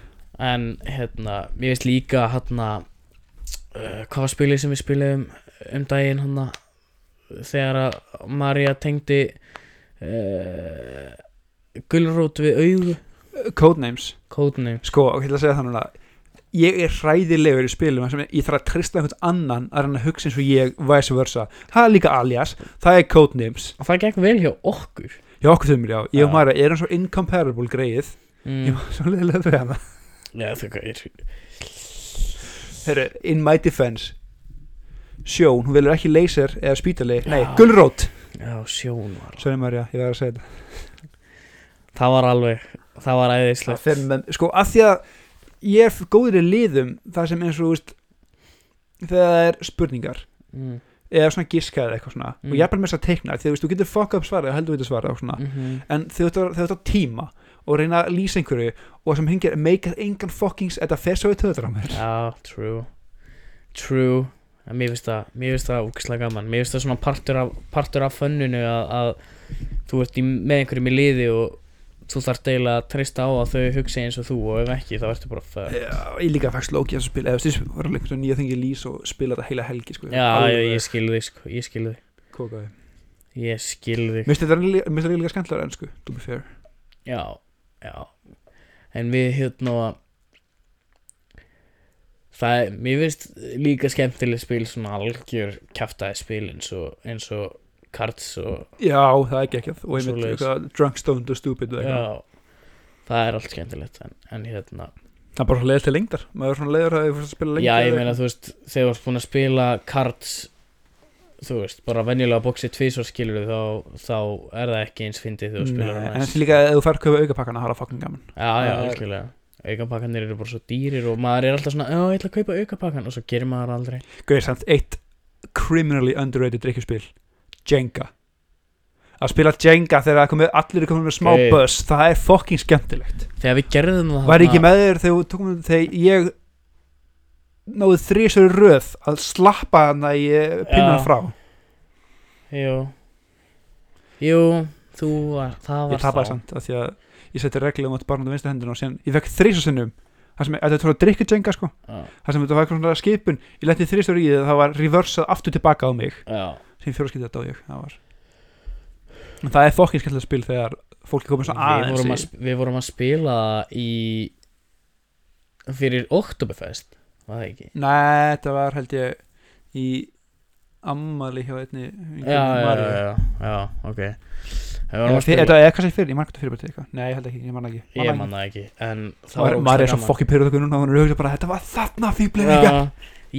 A: En hérna, ég veist líka hérna uh, Hvað var spilið sem við spiluðum um daginn hérna Þegar að Marja tengdi uh, Gulrót við augu
B: Uh, Codenames,
A: Kóðnum
B: sko, og ég ætla að segja það núna Ég er hræðilegur í spilum þar sem ég þarf að trista einhvern annan að reyna að hugsa eins og ég vice versa Það er líka alias, það er Codenames
A: Og það gekk vel hjá okkur
B: Já, okkur þumur, já, ég
A: Já.
B: og Mara er hann svo incomparable greið Ég
A: mm.
B: var svo leiðilega við hana
A: Já, það er
B: Herru, in my defense Sjón, hún velur ekki laser eða spítali Nei,
A: Já.
B: gulrót
A: Já, sjón var
B: Sorry Marja, ég var að segja þetta
A: Það var alveg, það var
B: Það
A: æðislegt
B: fer með, Sko, af því að ég er góður í liðum Það sem eins og, þú veist Þegar það er spurningar
A: mm.
B: Eða svona giska eða eitthvað svona
A: Mm.
B: Og ég er bara með þess að teikna Því að þú veist, þú getur fuck up svarað og Heldur við þetta svarað og svona
A: Mm
B: En þegar þú ert að- þegar þú ert að tíma Og reyna að lýsa einhverju Og sem hengir meikað engan fuckings Þetta fer svo í töður á mér
A: Já, true True En Mér finnst það, mér finnst það úkislega gaman Mér finnst það svona partur af, partur af fönnunu að, að þú ert í, með einhverjum í liði og þú þarft eiginlega að treysta á að þau hugsa eins og þú og ef ekki þá ertu bara fæð
B: Já, Eh, ég líka fækst lóki að spila eða þú veist, var alveg einhvern nýja þengi lýs og spila þetta heila helgi sko,
A: Já, ég, ég skil þig sko, ég skil þig
B: kokaði
A: Ég skil þig
B: Mér finnst þetta líka- mér finnst þetta líka skemmtilega en sko, to be fair
A: Já, já En við hérna Það er, mér finnst líka skemmtileg spil svona algjör kjaftaði spil eins og, eins og Cards og
B: Já, það er ekki ekki og ég
A: Svoleiðis.
B: mynd, drunk, stoned og stupid og eitthvað.
A: Já, það er allt skemmtilegt en, en hérna,
B: Það er bara leður til lengdar maður er svona leiður að ég fórst að spila lengdar
A: já ég meina þú veist þegar þú ert búin að spila cards þú veist, bara venjulega boxið tvísvar skilur þá, þá er það ekki eins fyndið þegar þú spilar
B: Nei,
A: hana
B: En
A: eins.
B: þessi líka að þú fær köpa aukapakkana það er að fucking gaman
A: Já, já,
B: það er-
A: algjörlega aukapakkanir eru bara svo dýrir og maður er alltaf svona, já, ég ætla að kaupa aukapakkan og svo gerir maður aldrei
B: Gauðir samt eitt criminally underrated drikkjuspil Jenga Að spila Jenga þegar það er komið- allir er komin með smá
A: Gaur.
B: buzz það er fucking skemmtilegt
A: Þegar við gerðum það
B: Var ég ekki
A: þarna-
B: með þér þegar, þú tókum, þegar ég náði þrísur röð að slappa hana í eh, pinnan
A: Já.
B: frá
A: Jú, jú, þú var, það
B: Ég
A: var
B: tapaði samt af því að ég setti reglum átt barnum á vinstu hendina og síðan ég fekk þrísur sinnum það sem, þetta er svona drikkutjenga sko
A: Já,
B: það sem þetta var eitthvað svona skipun ég lenti þrísur í því það var reversað aftur tilbaka á mig
A: já,
B: sem fjóraskipti þetta á ég það var en það er fokkin skemmtilega spil þegar fólki komið svona
A: við
B: aðeins
A: vorum, að,
B: í-
A: sp- við vorum að spila í fyrir Oktoberfest var það ekki
B: Nei, þetta var held ég í ammali hjá einni
A: já, já, já, já, já, ok við vorum
B: Eða
A: að
B: fyr-
A: spila
B: Þetta er kannski fyrir, ég margum þetta fyrir bara til eitthvað Nei, ég held ekki, ég manna ekki
A: ég man það ekki en það
B: það Maður er svo
A: ógeðslega
B: fokkin pyrrðu okkur núna og hún er auðvitað bara Þetta var þarna fýblið
A: gaman.
B: líka
A: Já,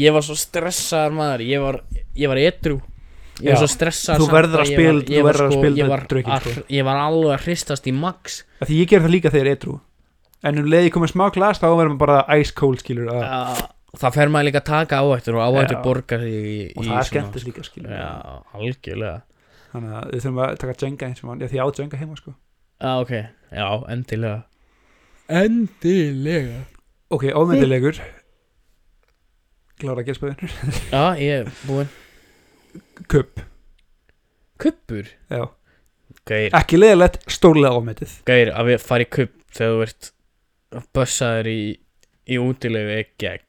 A: ég var svo stressaður maður ég var, ég var edru ég var
B: Já,
A: svo stressaður
B: þú
A: samt
B: verður að
A: ég var-
B: spila- þú
A: ég var
B: verður að
A: sko-
B: spila
A: ég
B: með
A: var
B: drukkinn,
A: að-
B: sko.
A: ég var alveg að hristast í max
B: Af Því ég ger það líka þegar ég er edru En um leiði komið smá glas þá verðum við bara ice cold skilur að,
A: Já, það fer maður líka að taka áhættur og áhættur
B: Já.
A: borgar sig í, í
B: Og það er
A: svona-
B: skemmtis líka skilur
A: já, algjörlega
B: Þannig að við þurfum að taka Jenga eins og mann Já, því ég á Jenga heima sko
A: Já, Ah, ok, já, endilega Endilega
B: Ok, ómyndilegur Klára að gespaðinu
A: Já, ég er búinn
B: Kupp,
A: Kuppur?
B: já
A: Gæir,
B: Ekki leiðilegt, stórlega ómyndið
A: gæir að við fara í kupp þegar þú ert bössaður í, í útilegu ekki ekki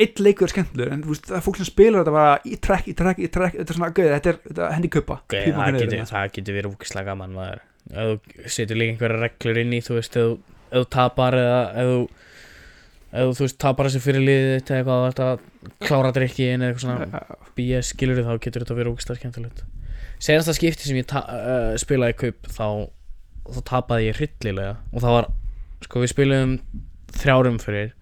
B: Eitt leikur er skemmtilegur En þú veist, það er fólk sem spilur þetta bara Í trekk, í trekk, í trekk Þetta er svona, gauð, þetta er þetta er hendi kuppa
A: Gæir, það
B: hérna.
A: getur, það getur verið úkislega gaman maður Ef þú setur líka einhverja reglur inn í, þú veist, ef þú- ef þú tapar eða ef þú ef þú, þú veist, tapar þessi fyrir liðið þitt eða eitthvað, þú ert að klára drikki inn eða eitthvað svona BS skilur þá getur þetta verið ógislega skemmtilegt senast það skipti sem ég ta- uh, spilaði kaup þá, þá tapaði ég hryllilega og það var sko við spilaðum þrjárum fyrir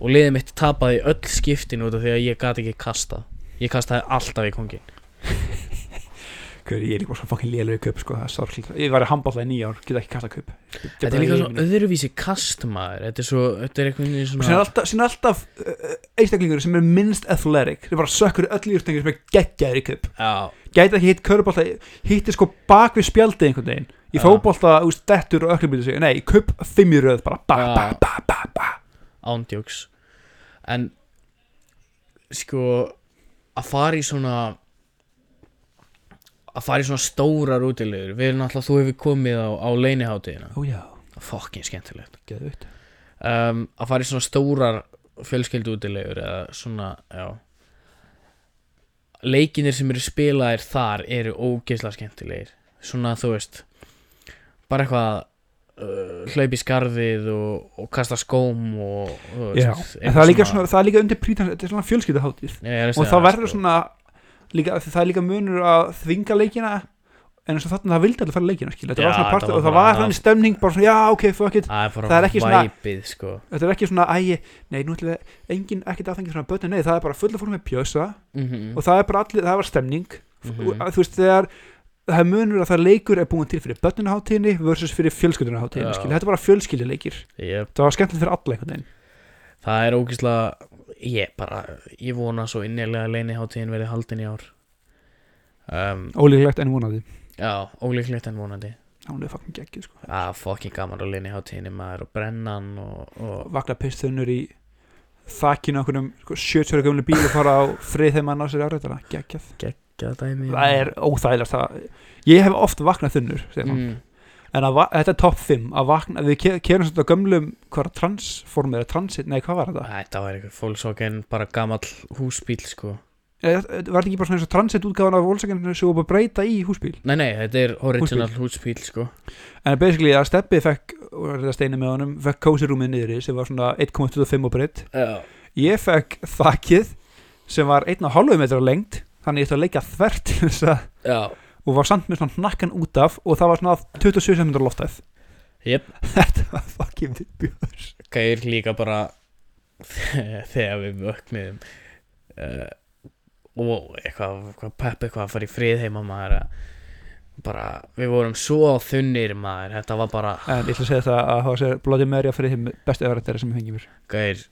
A: og liðið mitt tapaði öll skiptin út af því að ég gat ekki kasta ég kastaði alltaf í kongin
B: Hver, ég er líka bara svo fokkin lélur í kupp sko, það er sorglega. Ég var í handbólla í nýjár, get ekki kasta kupp.
A: Þetta er líka svona öðruvísi kastmaður Þetta er svo, þetta er eitthvað
B: Og sem er
A: svona
B: alltaf, sem er alltaf uh, einstaklingur sem er minnst athletic, sem bara sökkur öll í úrstengur sem er geggjaður í kupp.
A: Já,
B: Gæti ekki hitt körubolta, hitti sko bak við spjaldið einhvern veginn. Í
A: Já.
B: fótbolta, úst, dettur og öklumbýtu sig. Nei, í kupp fimm í röð, bara ba,
A: Já.
B: ba, ba, ba, ba.
A: ándjóks En Sko Að fara í svona Að fara í svona stórar útilegur Við erum náttúrulega, þú hefur komið á, á leinihátiðina
B: Ó já,
A: Fokkin skemmtilegt
B: geðvitt.
A: um, að fara í svona stórar fjölskeldu útilegur eða svona, já leikinir sem eru spilaðir þar eru ógeðslega skemmtilegir svona þú veist bara eitthvað uh, hlaup í skarðið og, og kasta skóm og þú
B: Já, en það er líka, svona, það er líka undir prítan, þetta er svona fjölskyldaháttið.
A: já,
B: og það
A: sko.
B: verður svona líka, því það er líka munur að þvinga leikina en eins og þarna það vildi allir fara í leikina skil. þetta
A: Já,
B: var svona
A: þetta
B: partur
A: var
B: og það
A: bara-
B: var þannig stemning bara svona já ok fuck it
A: það er, bara
B: það er ekki svona-
A: væpið, sko.
B: þetta er ekki svona ægi nei nú ætlum við engin ekkert aðþengi svona börn nei það er bara fulla fólk með pjösa
A: mm -hmm.
B: og það er bara allir það var stemning
A: Mhm.
B: og, þú veist þegar það er munur að það leikur er búin til fyrir börnunaháttíðinni versus fyrir fjölskyldunaháttíðinni
A: Já.
B: skil. þetta er bara fjölskylduleikir
A: yep.
B: það var skemmtilegt fyrir alla einhvern veginn
A: það er ógeðslega ég bara, ég vona svo innilega leiniháttíðin verið haldin í ár um,
B: ólíklegt en vonandi
A: já, ólíklegt en vonandi
B: hún er fucking geggjuð sko.
A: Það er fokkin gaman að linni hátíðinni maður og brennan og, og
B: vakna pistunur í þakkinu okkur um 70 gamlu bíl og fara á frið þegar maður ná sér áreitana geggjað,
A: geða dæmi
B: það er óþægilegt það. ég hef oft vaknað þunnur mm.
A: mm,
B: en að, va- þetta er topp 5 að vakna, við ke- kerum svona gömlum hvað var transformið eða transit, nei hvað var þetta
A: Þetta var eitthvað fólksókin bara gamall húsbíl sko
B: Eh, var þetta ekki bara svona eins og transit útgáðan af volsakenninu sem var bara að breyta í húsbíl
A: Nei, nei, þetta er original húsbíl, sko
B: en basically að Steppi fekk og þetta steinu með honum, fekk cozy rúmið niðri sem var svona 1.25 og breytt
A: Já,
B: ég fekk þakkið sem var 1,5 metra lengt þannig ég ætti að leika þvert til þess að
A: já
B: og var samt með svona hnakkan út af og það var svona 27 cm loftæð
A: Jep,
B: þetta var fucking viðbjör
A: gæðir líka bara þegar við vöknuðum uh, og eitthvað, eitthvað pepp eitthvað að fara í frið heima maður að bara, við vorum svo þunnir maður, þetta var bara
B: en ég ætla að segja það að hafa sér Bloody Mary að fyrir þeim bestu öðrættari sem ég fengi mér
A: Gæir,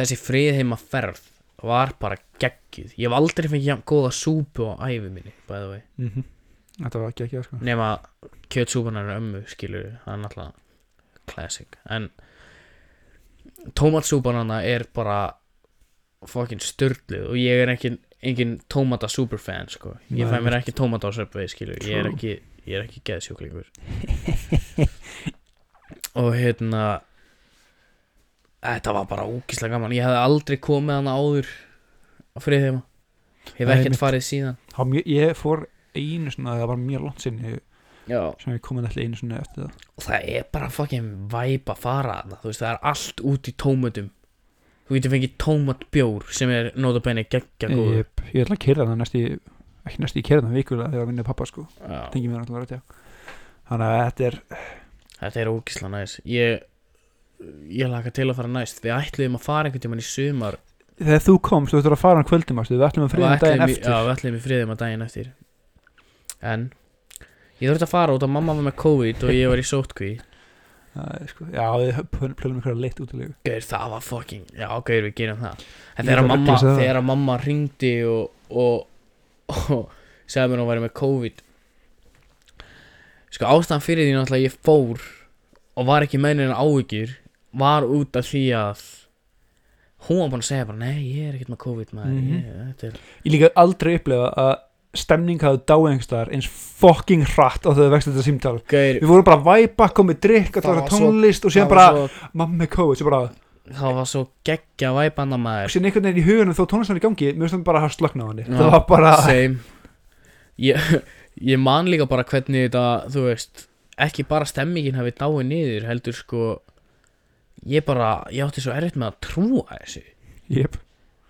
A: þessi friðheima ferð var bara geggjuð Ég hef aldrei fengið jafn góða súpu á æfi minni bæði vei
B: mm þetta var ekki ekki það sko
A: Nefn að kjötsúpunar er ömmu skilur Það er náttúrulega classic En tómatsúpanana er bara fokkin störluð og ég er engin, engin tómata superfan sko. Ég fæ
B: Nei.
A: mér ekki tómata á söpvei skilur Ég er
B: True.
A: ekki, ég er ekki geðsjúklingur Og hérna Þetta var bara ógislega gaman Ég hefði aldrei komið hana áður á friðheima Ég hef
B: Nei,
A: ekkert
B: mitt.
A: farið síðan
B: Það var mjög- ég fór einu svona það var mjög langt sinni
A: Já
B: sem ég komið allir einu svona eftir það
A: og það er bara fucking væp að fara þarna þú veist það er allt út í tómatum þú getur fengið tómatbjór sem er notabene geggja góður
B: ég, ég ætla að kera það næst í ekki næst í kera það vikulega þegar að vinna pappa sko
A: Já,
B: tengi mér náttúrulega rétt já þannig að þetta er
A: þetta er ógislega næs ég, ég laka til að fara næst við ætluðum að fara einhvern tímann í sumar
B: þegar þú komst þú ættir að fara hann kvöldum ástu við ætlum að
A: Og
B: friðum daginn
A: ætluðum í-
B: eftir
A: já, við ætluðum í friðum að daginn eftir en ég þurfti að fara út að mamma var með COVID og ég var í sótkví
B: já, sko, já við plönum ykkur að leitt út í lögu
A: Gauður, það var fucking, já, gauður, við gerum það En
B: Ég
A: þegar
B: ætla að
A: mamma,
B: upplýsa það.
A: þegar mamma ringdi og, og, og segði mér að hún væri með COVID Sko, ástæðan fyrir því náttúrulega ég fór og var ekki með neina áhyggjur var út af því að hún var búin að segja bara, nei, ég er ekkert með COVID maður,
B: Mhm.
A: ég, þetta er
B: Ég líka aldrei upplefa að stemning hafði dáengstaðar eins fucking hratt á þegar vexti þetta símtal
A: Gauður,
B: Við vorum bara að væpa, komið drikk,
A: Það
B: að það var
A: var svo-
B: tónlist og síðan
A: það
B: bara
A: var svo,
B: mamma COVID, svo bara
A: það var svo geggja væpanna maður
B: og síðan einhvern veginn í hugunum þó tónlistan er í gangi mér finnst bara að hafa slöknað á henni
A: Já,
B: Það var bara,
A: Same ég, ég man líka bara hvernig þetta Þú veist Ekki bara stemmingin hafi dáið niður Heldur sko Ég bara Ég átti svo erfitt með að trúa þessu
B: jöp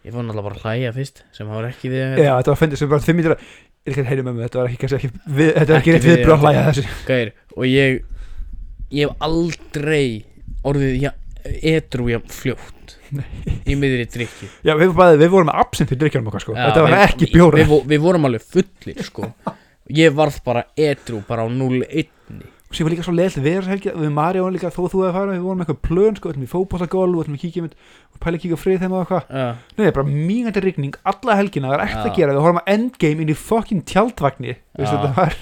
A: Ég fór náttúrulega bara að hlæja fyrst Sem hafa ekki við
B: Já, þetta var fyndið sem bara þið mýtir að Ég er ekki að heyra með mig, þetta var ekki, kannski ekki, við, þetta
A: Ekki
B: var ekki rétt viðbröð að
A: við-
B: hlæja að þessu
A: Gæir Og ég Ég hef aldrei Orðið ja, Edru ég fljótt Í miðri drikki
B: Já, við, bæði, við vorum með absint í drikkjánum okkar sko Þetta var Sko, ekki bjóra
A: við, vo- við vorum alveg fullir sko Ég varð bara edru bara á 0-1
B: og sér var líka svo leilt verið helgi við Marjón líka þó þú hefði farið við vorum með eitthvað plön sko, við ætlum í fótbollagolf, við ætlum að kíkja mynd og pæla að kíkja á frið þeim og eitthvað
A: uh,
B: nei, það er bara mingandi rigning, alla helgina það er ekkert
A: Já.
B: að gera, við horfum að endgame inn í fokkin tjaldvagnir,
A: Já.
B: veistu þetta var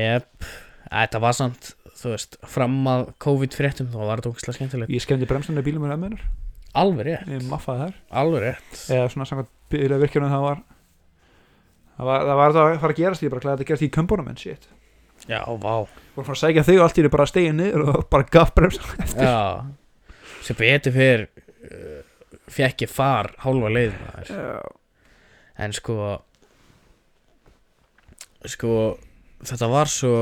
A: Jep, þetta var samt Þú veist, fram að COVID-fréttum Þá var þetta ógæslega skemmtilegt
B: ég skemmdi bremsunni bílum með ömmunar,
A: Alveg rétt,
B: ég maffaði þar
A: alveg rétt
B: eða svona samkvæmt bílega virkjunum það var það var, það var þetta að fara að gerast ég er bara glæði að þetta gerast í kömbunum en shit
A: Já, vá
B: voru frá að sækja þig og allt í þér bara stegið niður og bara gaf bremsa
A: Já, sem betur fyrr uh, Fekk ég far hálfa leið maður. En sko Sko Þetta var svo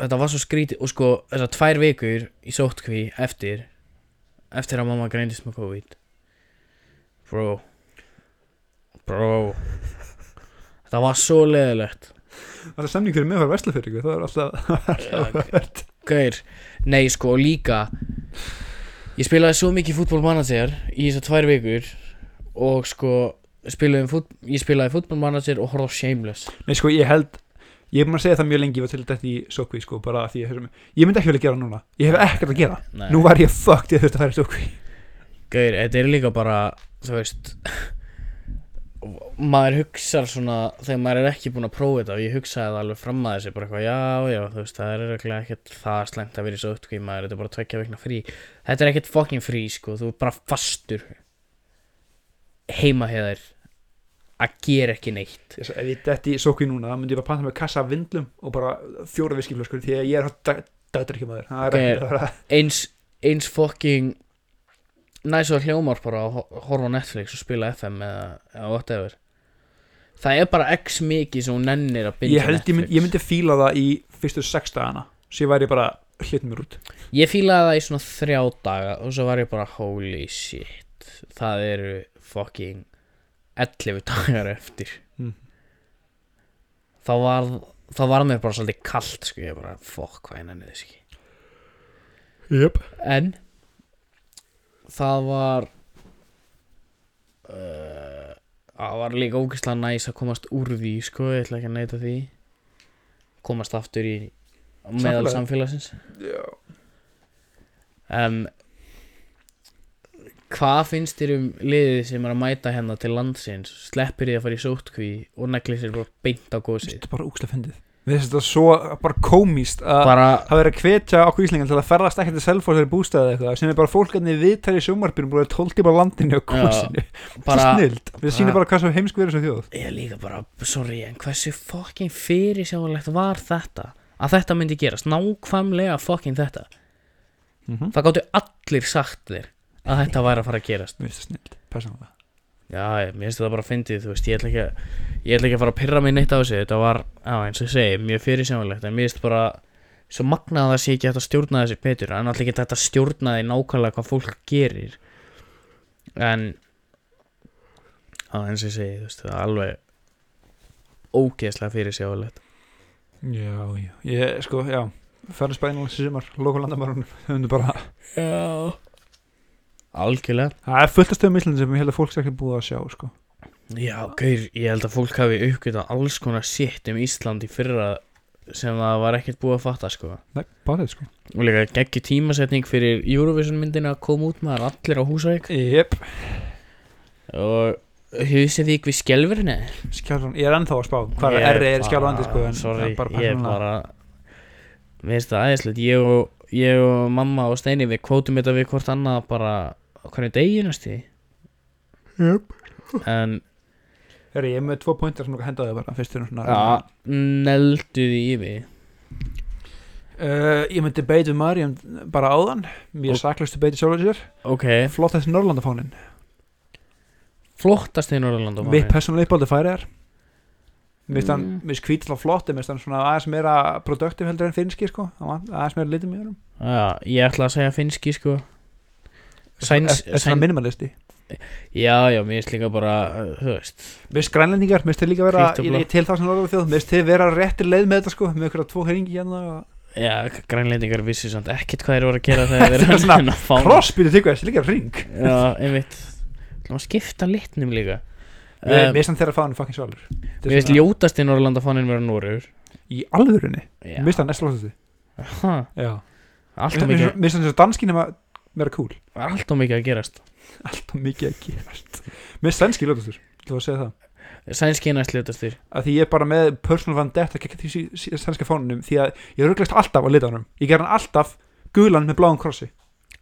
A: Þetta var svo skrítið Og sko þessar tvær vikur í sótkví Eftir Eftir að mamma greindist með COVID Bro Bro Þetta var svo leðilegt
B: það er samning fyrir mig að fara veslu fyrir ykkur það er alltaf
A: Gaur, nei sko og líka Ég spilaði svo mikið fútbolmanager Í þessar tvær vikur Og sko spilaði fút, Ég spilaði fútbolmanager og horfði á Shameless
B: Nei, sko, ég held Ég er búin að segja það mjög lengi, ég var til þetta í sókví, sko, bara af því ég höfum Ég myndi ekki vilja gera það núna, ég hef ekkert að gera
A: nei.
B: Nú var ég fucked, ég þurfti að fara í sókví
A: Gaur, þetta er líka bara Þú veist Maður hugsar svona Þegar maður er ekki búinn að prófa þetta Og ég hugsaði það alveg fram að þessi Bara eitthvað, já, já, þú veist Það er ekki ekkert það slengt að vera í svo upptkví Maður, þetta er bara tvekja vegna frí Þetta er ekkert fucking frí, sko Þú er bara fastur Heima hefur Að gera ekki neitt
B: Ég sagði, Ef ég detti í sókví núna, þá myndi ég bara panta með kassa af vindlum og bara fjóra viskiflöskur því að ég er hægt dættur ekki maður Það er
A: Ok.
B: ekki það
A: Eins, eins fucking Næs og hljómar bara að ho- horfa á Netflix og spila FM eða, eða whatever Það er bara x mikið sem hún nennir að binda
B: Ég held, ég, mynd, ég myndi fíla það í fyrstu sex dagana Sér væri ég bara hlut mér út
A: Ég fílaði það í svona þrjá daga og svo var ég bara holy shit það eru fucking 11 dagar eftir
B: Mhm.
A: þá var þá var mér bara svolítið kalt sko ég bara fuck hvað ég nenni þess ekki
B: Jöp
A: en það var uh, það var líka ógeðslega næs að komast úr því sko ég ætla ekki að neita því komast aftur í meðal
B: Samfélagið.
A: samfélagsins
B: Já
A: um, Hvað finnst þér um liðið sem er að mæta hérna til landsins sleppir því að fara í sótkví og neglir sér bara beint á gósið
B: Þetta er bara úkslega fyndið Við þess að þetta er svo bara komíst að
A: bara,
B: Það verið að hvetja okkur Íslingan til að ferðast ekki til Selfoss eða bústæði eða eitthvað sem er bara fólkarni viðtæri í sjónvarpinu búið að tólti bara landinu og kosinu bara,
A: bara
B: snild, við sýnum bara hvað sem heimsk verið sem þjóð
A: ég er líka bara, sorry, en hversu fucking fyrir var þetta að þetta myndi gerast, nákvæmlega fucking þetta,
B: mm -hmm.
A: það gáttu allir sagt þér að þetta væri að fara að gerast
B: Mér finnst það snild, persónulega
A: Já, ég- mér finnst þetta bara fyndið, þú veist, ég ætla ekki að ég ætla ekki að fara að pyrra mig neitt á þessu þetta var, á, eins og ég segi, mjög fyrirsjáðanlegt en mér finnst bara svo magnað að það sé ekki hægt að stjórna þessu betur en alltaf ekki hægt að stjórna því nákvæmlega hvað fólk gerir en á, eins og ég segi, þú veist, það er alveg ógeðslega fyrirsjáðanlegt
B: Já, já, ég, sko, já ferðast bara einanlega sem sumar, lokalandamarunum það er bara,
A: Já Algjörlega
B: það er fullt af stöðum Íslandin sem ég held að fólk sé ekki búið að sjá, sko
A: Já, gaur, ég held að fólk hafi uppgötað alls konar sitt um Ísland í fyrra sem það var ekkert búið að fatta, sko
B: Nei, bara þetta, sko
A: og líka geggju tímasetning fyrir Eurovision myndina að koma út maður allir á húsæk
B: Jep,
A: og husið því við skjálfurinni
B: skjálfan, ég er ennþá að spá um hvað er R er skjálfandi, sko en
A: sorry,
B: það er bara
A: ég er
B: persónulega.
A: bara mér finnst það aðeinslega ég, og- ég og mamma og Steini við kvótum þetta við hvort annað bara á hvernig deginast því
B: Jep.
A: en
B: Herri, ég er með tvo pointar sem þú hendaði bara fyrst er nú svona
A: ja, neldu því í mig
B: Uh, ég myndi beita við Mariam bara áðan Mér
A: Og-
B: er saklaust að beita sjálfur sér
A: ok,
B: Flott þessi Norrlandafánin
A: flottast í Norrland
B: Mitt persónulega uppáldi færiðar Mér finnst hann,
A: Mm.
B: mér finnst hvítið þá flott en Mér finnst hann svona aðeins meira produktiv heldur en finnski sko Hann var Aðeins meira litum í honum
A: Já, ég ætla að segja finnski sko Sæns,
B: Þetta er svona minimalisti
A: Já, já, mér finnst líka bara, uh, þú veist
B: Mér finnst grænlendingar, mér finnst þið líka vera
A: Hvítt og
B: Ég
A: blátt.
B: er til það sem Norrlandu þjóð, mér finnst þið vera réttir leið með þetta sko Með ykkur tvo heringi hérna og...
A: Já, grænlendingar vissi samt ekkert hvað þeir voru að gera þegar þeir
B: Þetta er
A: eru
B: svona
A: að fá
B: Crossbýtu þykvæðis, líka ring
A: Já, einmitt Það var að skipta litnum líka
B: Við
A: Um,
B: um, veistum þeirra fáinu fucking svalur
A: Mér finnst ljótasti Norrlanda fanin vera Noregur
B: Í alvörunni,
A: Já.
B: mér finnst það næst lótasti
A: Ha,
B: Já
A: Alltaf
B: Mér
A: mikið,
B: finnst það danskinn að vera cool
A: alltaf mikið að gerast
B: Alltaf mikið að gerast Mér finnst sænski lótastur, þú að segja það
A: Sænski er næst ljótastir
B: að því ég er bara með personal vendetta gegn því sí- sí- sænska fánunum því að ég rugglast alltaf á litanum ég ger hann alltaf gulan með bláum krossi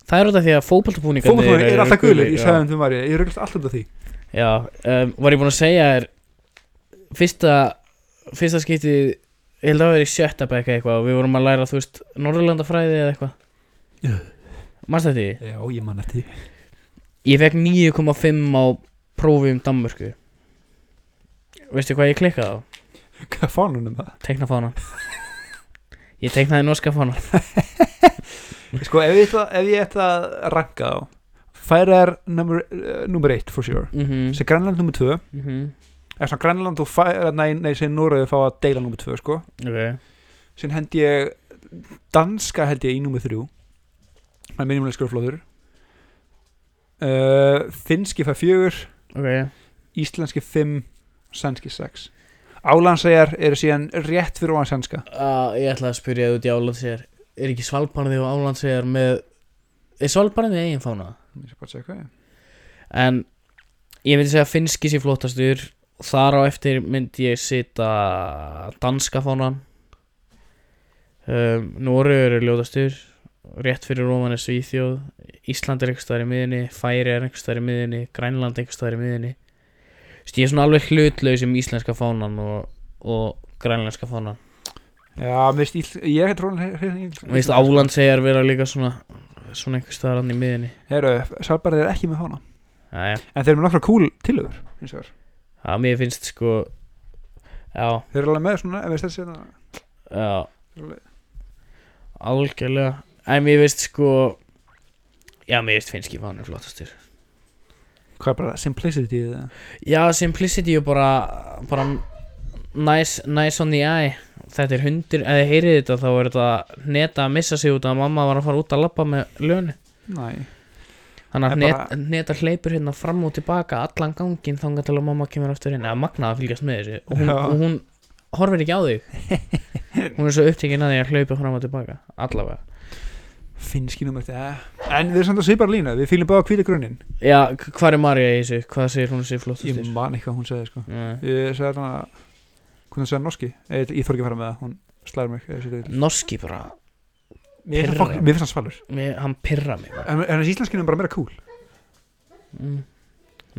A: Það er út af því að fótboltabúningarnir
B: fókbaltónu er
A: eru
B: alltaf gulir, ég
A: já.
B: sagði um því maður ég rugglast alltaf út af því
A: Já, um, var ég búinn að segja þér Fyrsta Fyrsta skipti Ég held að það hafi verið í sjötta bekka eitthvað og Við vorum að læra, þú veist, Norðurlandafræði eða eitthvað
B: Já.
A: Manstu þetta í?
B: já, ég man eftir því.
A: Ég fekk 9,5 á prófi um Danmörku Veistu hvað ég klikkaði á?
B: hvað fánunum það?
A: Tekna fána Ég teknaði norska fána
B: sko, ef ég ætla, ef ég ætla að ranka þá færa er number, uh, number 8 for sure
A: mm -hmm.
B: sem Grænland nummer 2
A: mm -hmm.
B: eða svona Grænland og færa, nei, nei, sem Noröðu fá að deila nummer 2 sko
A: Ok
B: sem held ég danska held ég í nummer þrjú hann er minimum skurflóður uh, finski fær fjögur
A: Ok
B: íslenski fimm sænski sex álandsæjar eru síðan rétt fyrir ofan sænska
A: uh, Ég ætla að spyrja þú út í álandsegjar Er ekki Svalbarði og álandsegjar með Er Svalbarði með eigin fána?
B: Ég skal bara checka, já.
A: En ég myndi segja að finski sé flottastur Þar á eftir myndi ég sita danska fánan um, Noregur er ljótastur Rétt fyrir Róman er Svíþjóð Ísland er einhvers staðar í miðinni Færi er einhvers staðar í miðinni Grænland einhvers staðar í miðinni Þú veist, Ég er svona alveg hlutlaus um íslenska fánan og, og grænlenska fánan
B: já, mér finnst ísl- ég hef tróðan
A: Mér finnst Áland segjar vera líka svona Svona einhvers staðar hann í miðinni
B: Heru, Svalbard er ekki með fána
A: Jæja,
B: en þeir eru með nokkra cool tilögur hins vegar.
A: það mér finnst sko Já,
B: þeir eru alveg með svona ef við stæðum sérna
A: já Algjörlega En mér finnst sko Já, mér finnst finnski fánir flottastur
B: hvað er bara simplicity eða?
A: Já, simplicity og bara bara nice, nice on the eye Þetta er hundur, ef þið heyrið þetta þá er þetta neta að missa sig út að mamma var að fara út að labba með lönu
B: Nei.
A: Þannig að
B: En bara-
A: net, neta hleypur hérna fram og tilbaka allan ganginn þangað til að mamma kemur aftur inn eða magna að fylgjast með þessu og hún,
B: Já.
A: og hún horfir ekki á þig Hún er svo upptekinn að því að hlaupa fram og tilbaka allavega
B: finnski eh? nummer þetta en við erum samt að svipar lína við fýlum báða hvíta grunninn
A: Já, k- hvað er Marja í þessu? Hvað segir hún sér
B: Ég
A: flottastur?
B: man ekki hvað hún segði sko
A: Nei.
B: Ég segði hana Hvernig segði hann norski? Ég, ég þor ekki að fara með það, hún slæðir mig ef ég segi þetta.
A: Norski bara
B: Mér finnst hann
A: pirrar.
B: fokk- mér finnst hann svalur
A: mér, Hann pirra mig bara.
B: En en hans íslenskinn er bara meira cool
A: mm.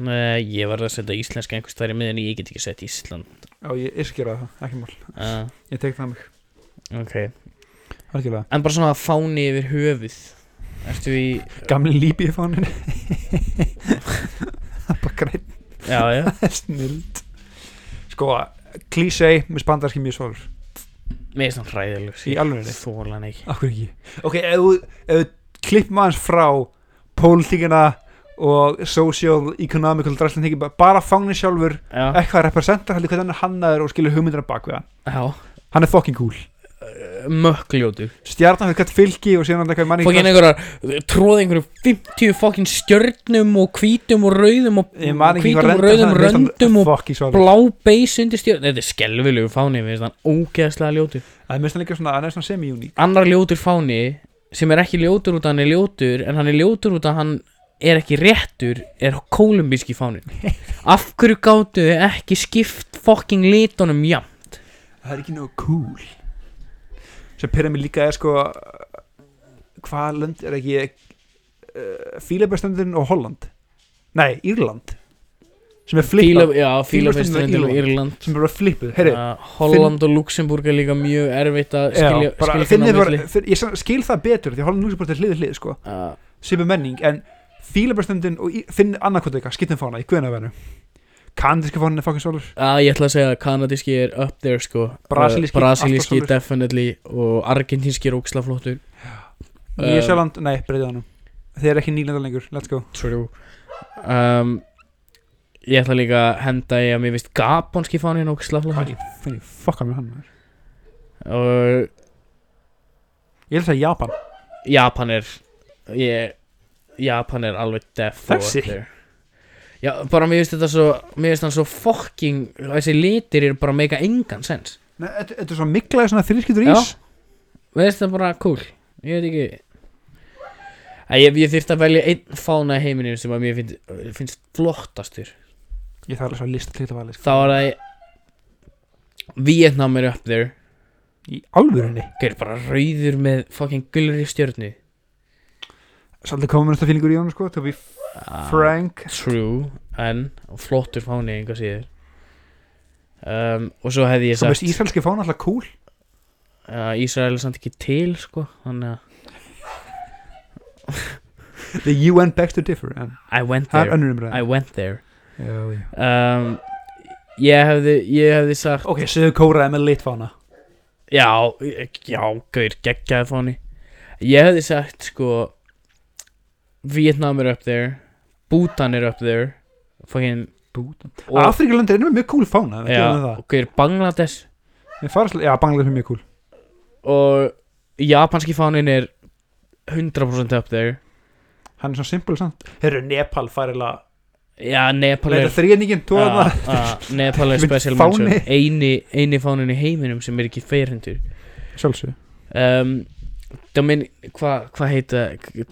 A: Nei, ég verð að setja íslenska einhvers þar í miðinni Ég get ekki sett Ísland
B: Já, ég er skera það, ekki mál
A: uh,
B: Ég tek það mig
A: Ok
B: Algjörlega
A: En bara svona fáni yfir höfuð Ertu í
B: Gamli lípi í fánin Bara greitt
A: Já, já
B: snild Sko, klísei með spandarski mjög svalur
A: Mér er svona hræðileg
B: Í alveg
A: Þólan ekki
B: Akkur ekki Ok, ef þú- ef þú klippum aðeins frá pólitíkina og social, economical, dræslan þykir bara fánin sjálfur
A: Já,
B: eitthvað representar heldur hvernig hann er hannaður og skilur hugmyndina bak við hann
A: já
B: hann er fucking cool
A: Eh, Mökkljótu
B: stjarnan fyrir hvert fylgi og síðan hann eitthvað manni
A: Fokkin einhverjar Tróði einhverju 50 fokkin stjörnum Og hvítum og rauðum Og
B: ég man ekki
A: hvítum og rauðum röndum og
B: fucking svo
A: blá beis undir stjórn þetta er skelvilegu fáni við þann ógeðslega ljótur
B: það minnst hann líka svona hann er svona semi-uník
A: annar ljótur fáni sem er ekki ljótur út að hann er ljótur en hann er ljótur út að hann er ekki réttur er kolumbíski fáni af hverju gáttu þau ekki skipt fokking litunum jafn
B: það er ekki nógu cool sem pyrra mig líka er sko hvað lönd er ekki uh, Fílabestundin og Holland nei, Írland sem er
A: Fíla,
B: flippað
A: já,
B: Fílabeinsströndin
A: Fílabeinsströndin og
B: og
A: Írland
B: sem er bara flippuð heyri
A: uh, Holland og Luxemburg er líka mjög erfitt að Ah, skilja,
B: Já, bara,
A: skilja
B: finnið
A: á
B: bara,
A: milli.
B: finn- ég skil það betur því að Holland og Luxemburg er hlið hlið sko
A: Uh,
B: svipu menning en fílabestöndin og í- finn annarkvæmt eitthvað skittin fána í guðina verður kanadíska fánin er fucking svolur
A: Já, ég ætla að segja að kanadíski er up there sko
B: Brasilíski,
A: uh, Brasilíski
B: alltaf svolur.
A: definitely Og argentínski er ógslaflottur Eh.
B: Nýja Sjáland, nei, breytið hann þeir eru ekki nýlendar lengur, let's go
A: True um, Ég ætla líka að henda í að mér finnst Gaponski fánin ógslaflottur
B: Hvað ég finn ég fokka með hann maður?
A: Og
B: ég vil segja Japan
A: Japan er ég, Japan er alveg def
B: Þessi?
A: Já, bara mér finnst þetta svo Mér finnst hann svo fucking Þessi litir eru bara að meika engan sens
B: Nei, Þetta þetta er svona miklaði svona þrískiptur
A: Já.
B: ís
A: Mér finnst það bara cool Ég veit ekki Æ, ég, ég þyrfti að velja einn fána í heiminum sem að mér finnst, finnst flottastur
B: Ég þarf alveg svo að lista til þetta valið sko.
A: Þá er það Vietnam er up there
B: Í alvörunni
A: Gauður bara rauður með fucking gulri stjörnu
B: Svolítið komur næsta fílingur í honum sko Tobi
A: Ah.
B: Frank
A: True En flottur fáni einhvað síður um, Og svo hefði ég
B: Svo veist
A: sagt
B: íslenski fána alltaf cool
A: uh, Ísrael er samt ekki til sko Þannig að
B: The UN begs to differ en
A: I went
B: Það er
A: there
B: önnur
A: I
B: umræða
A: went there
B: Já, já.
A: um, Ég hefði Ég hefði sagt
B: Ok, sögur kóraði með lit fána
A: Já, já, gauður geggjaði fáni Ég hefði sagt sko Vietnam er up there Bhutan er up there Fucking og-
B: Afrikalandi er einu með mjög cool fána við gerum
A: Já,
B: það.
A: ok, Bangladesh
B: Við farum svolítið- Já, Bangladesh er mjög cool
A: og japanski fánin er 100% up there
B: Hann er svona simpul samt Herru, Nepal fær eða
A: Já, Nepal
B: Leita
A: er
B: þrýningin, tóða
A: Já, já, Nepal er
B: Minn
A: special
B: fáni.
A: mention eini, eini fánin í heiminum sem er ekki feirhendur
B: það Sjálfsög
A: um, Domin, hvað hva heita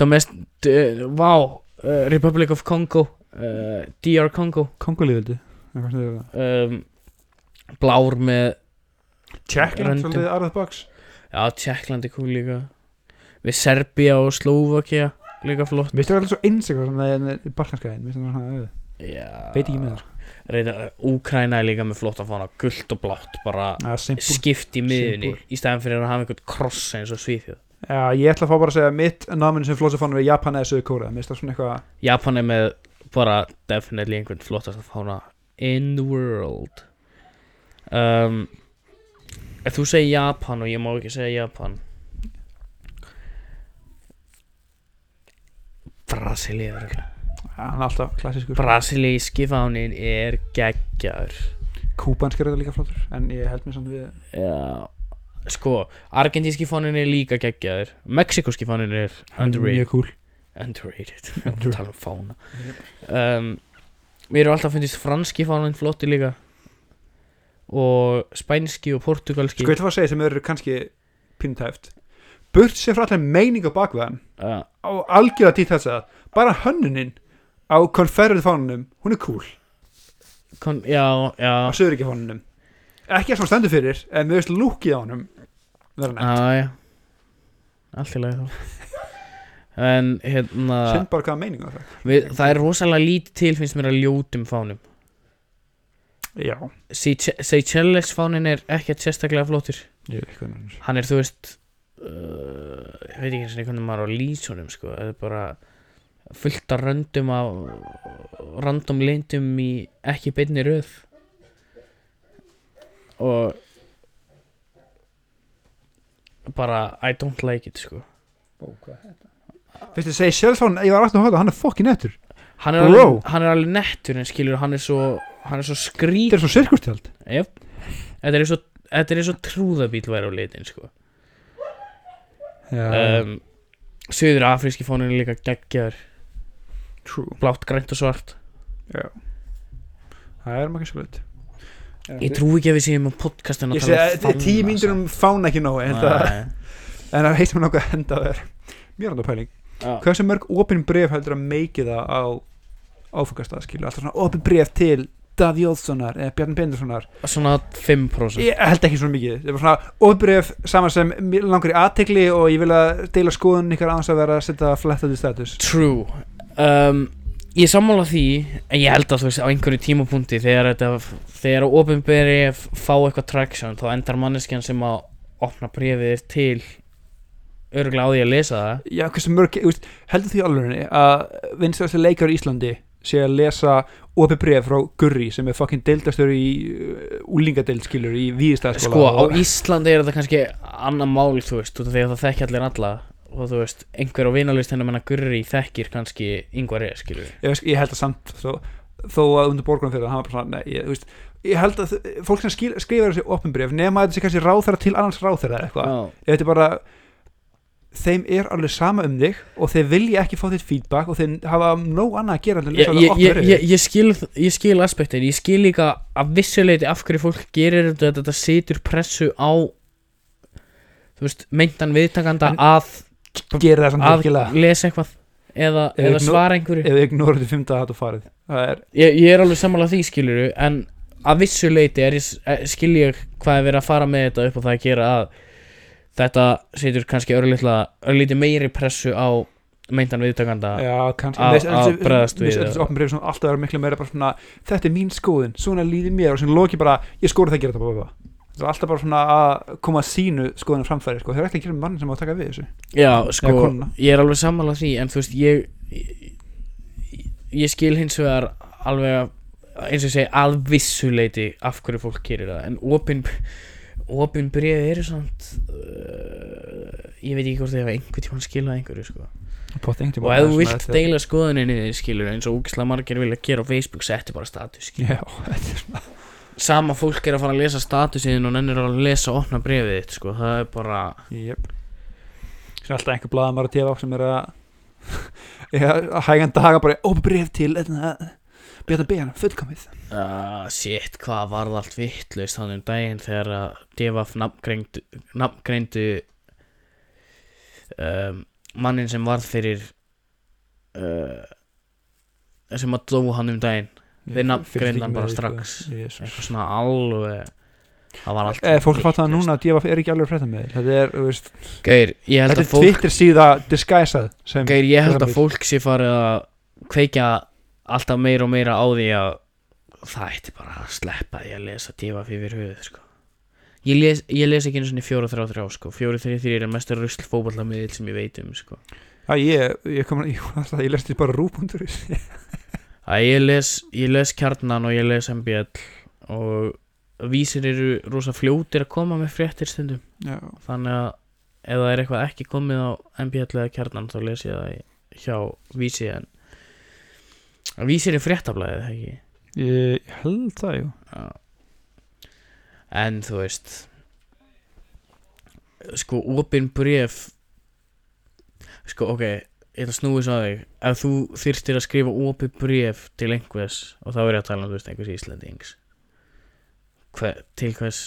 A: Domest, uh, wow uh, Republic of Congo uh, DR Congo
B: Kongolíðildi Tjekkland,
A: um, Blár með, Röndum.
B: svolítið out of the box
A: já, Tjekkland er kúl líka Við Serbia og Slovakia líka flott
B: Mér finnst það alltaf svo eins eitthvað sem það er í Balkanskæðin Mér finnst það svona auð
A: Já.
B: Veit ekki með það sko.
A: reyna, Úkræna er líka með flotta fána gult og blátt, bara
B: Já, simpul
A: skipt í miðunni
B: Simpúl.
A: í staðan fyrir að hafa einhvern kross eins og Svíþjóð
B: Já, ég ætla að fá bara að segja mitt náminn sem flótsa fánum er Japan eða Suður Kóra Mér finnst það svona eitthvað
A: Japan er með bara definitely einhvern flottasta fána in the world um, ef þú segir Japan og ég má ekki segja Japan Brasilia örugglega.
B: Já, hann er alltaf klassískur
A: Brasilíski fánin er geggjar
B: Kúbansk er þetta líka flottur En ég held mér samt við
A: Já Sko, argentíski fánin er líka geggjaður Mexikoski fánin er underrated
B: Mjög cool
A: Underrated,
B: Under-
A: tala um fána um, Mér eru alltaf fundist franski fánin flotti líka Og spænski og portugalski
B: Sko, ég ætla að fá að segja sem eru kannski pintæft Burt sér frá allir meininga bakveðan
A: uh,
B: Á algjörða dýtt þess að Bara hönnunin á konferrið fánunum Hún er cool
A: kon, Já, já
B: á Söðuríkja fánunum Ekki að sem hann stendur fyrir En við veist lúkið á honum Verða nefnt
A: Já, já Allt í lagi þá En hérna
B: Send bara hvaða meininga það
A: við, Það er rosalega lítið til finnst mér að ljótum fánum
B: Já
A: Seyche- Seychelles fánin er ekkert sérstaklega flottur
B: Ég veit hvað hann er
A: hann er þú veist uh, ég veit ekki eins og hvernig maður á lýsunum sko, það er bara fullt af röndum af random leyndum í ekki beinni röð og bara I don't like it sko
B: Fyrst þið segja sjálfsfán Ég var aftur að hóta Hann er fokkin eftir
A: hann er,
B: Bro.
A: alveg, hann er alveg nettur en skilur hann er svo, hann er svo skrít
B: Þetta er svo sirkustjald
A: Jöp. þetta er eins og þetta er eins og trúðabíl væri á litin sko
B: Já
A: um, Suður afríski fónin er líka geggjar
B: True
A: blátt, grænt og svart
B: Það er maður ekki
A: Ég
B: svolít
A: trúi ekki að við séum á podcastinu
B: Ég segi Tíu mínútur
A: sko.
B: um fána ekki nóg En það En það heitir mér nokkuð að henda þér Mjög randa pæling Hversu mörg opin bref heldur að meiki það á áfengastað skilu Alltaf svona opin bref til Davíð Jóðssonar eða Bjarni Bendurssonar
A: Svona 5%
B: Ég held ekki svona mikið Það var svona opin bref saman sem mig langar í aðtekli og ég vil að deila skoðun ykkar aðeins að vera að setja flettað í status
A: True um, Ég sammála því En ég held að þú veist á einhverju tímapunkti Þegar þetta Þegar að opinberi fá eitthvað traction Þá endar manneskjan sem að opna brefið til Örgulega á því að lesa það
B: Já, hversu mörg, þú veist, heldur því alveg að vinstræðasti leikar í Íslandi sé að lesa opið bref frá Gurri sem er fucking deildastur í uh, úlingadeild skilur í Víðistæðaskóla
A: Sko á Íslandi er þetta kannski Annað mál þú veist Út af því að það þekki allir alla Og þú veist Einhver á vinalist hennar menna gurri Þekkir kannski yngvar eða skilur við.
B: ég, veist, ég held að samt þó, þó að undir borgunum fyrir það hann var bara svona, nei, ég, þú veist, ég held að þ- fólk sem skil, skrifar þessi opinbrif nema að þetta sé kannski ráþara til annars ráþara eða eitthvað,
A: Já.
B: ef þetta er bara þeim er alveg sama um þig og þeir vilja ekki fá þitt feedback og þeir hafa nóg annað að gera en
A: ég,
B: að lesa
A: ég,
B: það
A: ég,
B: opnur
A: ég, ég, skil, ég skil aspektin ég skil líka að vissuleiti af hverju fólk gerir þetta þetta setur pressu á þú veist, meintan viðtakanda
B: En-
A: að,
B: gera það samt
A: að
B: virkilega
A: lesa eitthvað eða,
B: Ef
A: eða
B: nú-
A: svara einhverju ég,
B: eða ignora þetta fymta að þetta farið það er,
A: ég er alveg sammála því skiluru en að vissuleiti er ég, s- eh, skil ég hvað er verið að fara með þetta upp á það að gera að þetta setur kannski örlítla örlítið meiri pressu á meintan viðtakanda
B: já, kannski
A: að-
B: Les-
A: að
B: þessi-
A: bregðast
B: þessi-
A: við
B: þessi-
A: eða-
B: þessi opnur eru svona alltaf að vera miklu meira bara svona þetta er mín skoðin, svona líði mér og svona loki bara, ég skori það að gera þetta bara það er alltaf bara svona að koma sínu skoðinu framfæri, sko, þeir eru ekki að gera með mann sem á að taka við þessu
A: Já,
B: Eða
A: sko,
B: konuna.
A: ég er alveg sammála því en þú veist, ég ég- ég skil hins vegar alveg að- eins og ég segi, að vissuleiti af hverju fólk gerir það en opin, opin bréf eru samt uh, ég veit ekki hvort þið hafa einhvern tímann skilað einhverju sko. og ef þú vilt deila skoðuninni þið skilur eins og úkislega margir vilja gera á Facebook setti bara status skilur.
B: já, þetta er svona
A: sama fólk er að fara að lesa statusiðin og nennir að lesa og opna bréfið þitt sko. það er bara
B: Jep. Svo alltaf einhver blaðamar að tefa sem er að Já, að hægan daga bara ópa bref til Bjarta Bjarna, fullkomið
A: Ah, shit, hvað varð allt vittlaust þannig um daginn þegar að Devaf nafngreindu, nafngreindu um, mannin sem varð fyrir uh, sem að dó hann um daginn Við nafngreindu hann bara
B: sko.
A: strax. eitthvað svona alveg það var allt
B: Eða Eh, fólk fattar það
A: vitlaust.
B: núna að Djefaf er ekki alveg frétta með þetta er, þú veist,
A: Geir, ég held
B: þetta
A: að
B: er
A: fólk
B: Twitter síða disguisað sem,
A: Geir, ég held að
B: Pyramid.
A: fólk sé farið að kveikja alltaf meira og meira á því að það ætti bara að sleppa því að lesa divaf yfir höfuð sko. ég, les, ég les ekki einu svona 4-3-3 sko. 4-3-3 er mestar rusl fótballamiðil sem ég veit um sko.
B: að ég, ég kom ég, alltaf, ég lesti bara rúpundur já,
A: að ég les, ég les kjarnan og ég les MBL og vísir eru rosa fljótir að koma með fréttir stundum þannig að ef það er eitthvað ekki komið á MBL eða kjarnan þá les ég það í- hjá vísi en að vísir er fréttablaðið það ekki
B: ég held það, jú
A: Já. En þú veist Sko, opin bréf Sko, ok Ég ætla að snúi svo að þig Ef þú þyrftir að skrifa opin bréf til einhvers Og þá er ég að tala um, þú veist, einhvers Íslandings Hver, Til hvers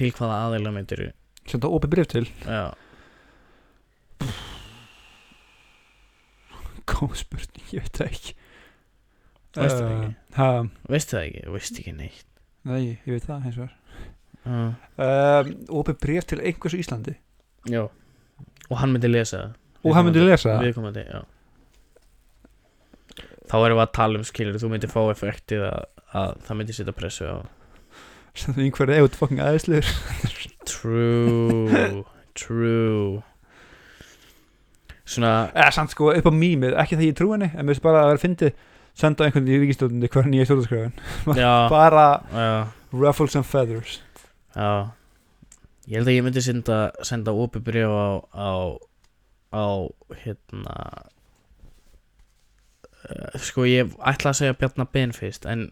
A: Til hvaða aðeila myndir
B: sem það ópa bref til,
A: Já,
B: góð spurning, ég veit það ekki Eh,
A: Veistu það ekki?
B: Ha,
A: veist það ekki, veist ekki neitt
B: nei, ég veit það, hins vegar
A: uh,
B: um, opið bref til einhvers á Íslandi
A: Já Og hann myndi lesa það
B: og hann myndi lesa það
A: viðkomandi, já þá erum við að tala um skilur þú myndir fá effektið að, að það myndir setja pressu á
B: sem það einhver eða fucking aðeinslegur
A: true, true svona
B: eða samt sko upp á mýmið, ekki það ég trú henni en mér finnst bara að vera fyndið senda á einhvern í ríkistjórnandi hver nýja stjórnarskröðun
A: já,
B: bara
A: já,
B: ruffles and feathers
A: já ég held að ég myndi senda, senda opið bréf á á, á hérna eh, sko ég ætla að segja Bjarnar Ben fyrst en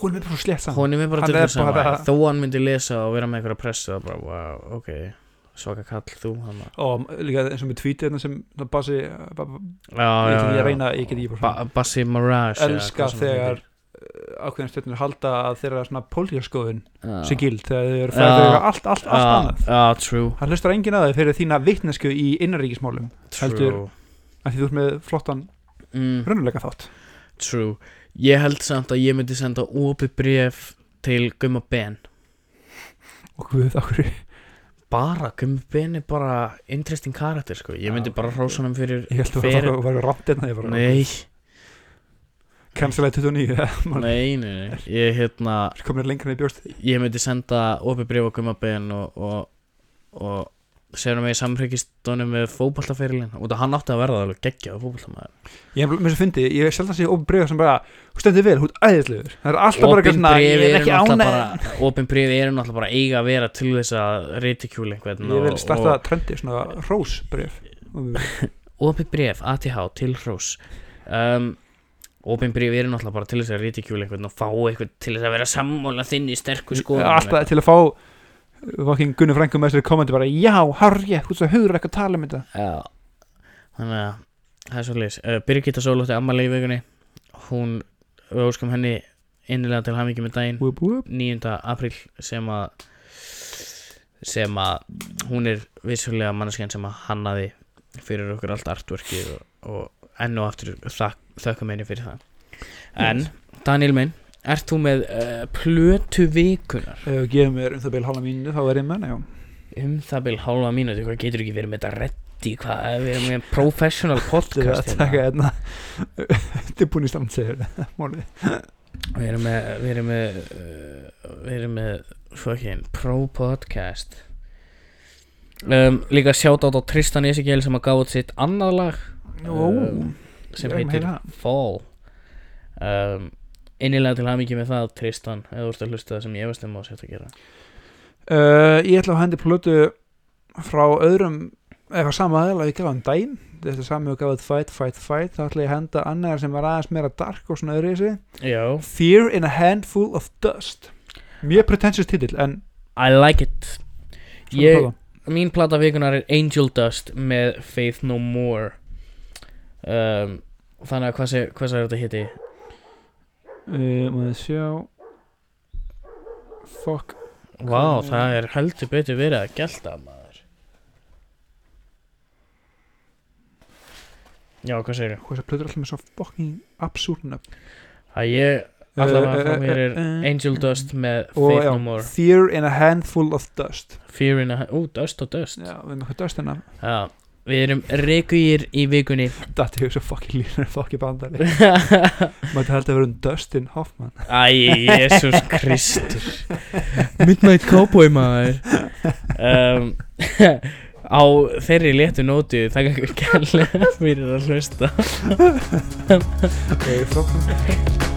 B: hún er bara svo slett saman
A: honum er bara
B: Hann
A: til
B: er
A: þess sama
B: bara-
A: þó hann myndi lesa og vera með einhverja pressu það er bara, wow, ok, svaka kall þú hann að-
B: og líka eins og með tweetið hérna sem það basi, ba- ba-
A: já,
B: Ég
A: já,
B: get- ég
A: já.
B: reyna- ég get ekki bara
A: ba
B: svona-
A: Bassi Mirage eða
B: elska
A: hvað sem hann
B: þegar
A: heitir.
B: ákveðin stjórnir halda að þeirra svona pólitíaskoðun
A: Já.
B: sem gild þegar þau eru
A: Já.
B: fæðið þeirra allt, allt, allt
A: Já,
B: annað
A: já, true,
B: hann hlustar enginn að þau fyrir þína vitnesku í innanríkismálum
A: true,
B: Heldur- af því þú ert með flottan
A: mm,
B: raunuleika þátt
A: true ég held samt að ég myndi senda opið bréf til Gumma Ben
B: og guð okkur ég
A: bara, Gumma Ben er bara interesting karakter sko, ég myndi
B: Já,
A: bara
B: ok.
A: hrósa hann fyrir
B: held að
A: Fer-
B: það var- var rátt einna ég bara
A: nei,
B: cancelaði 29 maður
A: nei, nei, nei ég hérna
B: er komin lengra en ég bjóst
A: ég myndi senda opið bréf á gummabegin og, og, og segja hann með samhryggist með fótballtaferilin út að hann átti að verða alveg geggjaðu fótballtamaður
B: ég hef mér svo fyndi ég hef sjálf að sé opið bregða sem bara þú stendur vel, hún er æðislegur það er alltaf bara eitthvað svona ég er ekki ánæg
A: opin bréf eru náttúrulega bara eiga að vera til þess að ritikjúli einhvern
B: ég vil starta trendi svona rósbref
A: opið bréf ATH til hrós um, opin bréf eru náttúrulega bara til þess að ritikjúli einhvern og fá einhvern til þess að vera sammála þinn í sterku skoðun
B: alltaf til að fá uh, fucking Gunni Frankum með þessari kommenti bara já, harja, þú veist að hugur ekki að tala um þetta
A: Já Þannig að það er svolítið uh, Birgitta Sólótti ammali í vegunni Hún, við óskum henni innilega til hamingi með daginn
B: whoop, whoop.
A: 9. apríl sem að sem að hún er vissulega manneskjan sem að hannaði fyrir okkur allt artworkið og, og enn og aftur þak, þökkum henni fyrir það En, Daniel minn, ert þú með uh, plötu vikunar
B: ef þú gefur mér um það beil halva mínu þá verð ég með hana, já
A: um það bil hálfa mínúti, hvað getur ekki verið með þetta reddi, hvað er verið með professional
B: þetta er að
A: podcast
B: taka hérna þetta er búin í stamtsegir málið
A: Við erum með Við erum með uh, Við erum með Fucking Pro Podcast um, Líka sjátt á Tristan Ezekiel sem að gaf út sitt annað lag Um, sem
B: Ég er með
A: heitir
B: heyra.
A: Fall um, Innilega til hamingi með það Tristan, eða þú ert að hlusta það sem ég efast um að sjátt að gera
B: Uh, ég ætla að hendi plötu frá öðrum eða sama aðeila við gafum dæn þetta er sami og gafum fight, fight, fight þá ætla ég að henda annar sem var aðeins meira dark og svona öðru í þessi
A: Já,
B: Fear in a handful of dust mjög pretentious titill en
A: I like it
B: svona
A: Ég,
B: plata.
A: mín plata vikunar er Angel Dust með Faith No More um, Þannig að hvað sé, hvað sé þetta hitti?
B: uh, maður sjá fuck
A: Vá,
B: Hvernig-
A: það er heldur betur verið að gelta maður Já, hvað segir ég?
B: hvað þessar plötur er alltaf með svo fucking absúrt nöfn Eh,
A: Að ég, allavega frá mér er Angel Dust með
B: og
A: Faith
B: já,
A: No More
B: Fear in a handful of dust
A: Fear in a... Ú, Dust og Dust
B: já, við erum eitthvað dust hérna. hennar
A: Já, við erum reykvíir í vikunni
B: þetta er svo fucking línur fucking bandari
A: Æ,
B: Maður held að vera um Dustin Hoffman
A: Jésús Kristur Midnight Cowboy maður um, Á þeirri léttu nótu þakka ykkur kærlega fyrir að hlusta
B: Ok, frábært.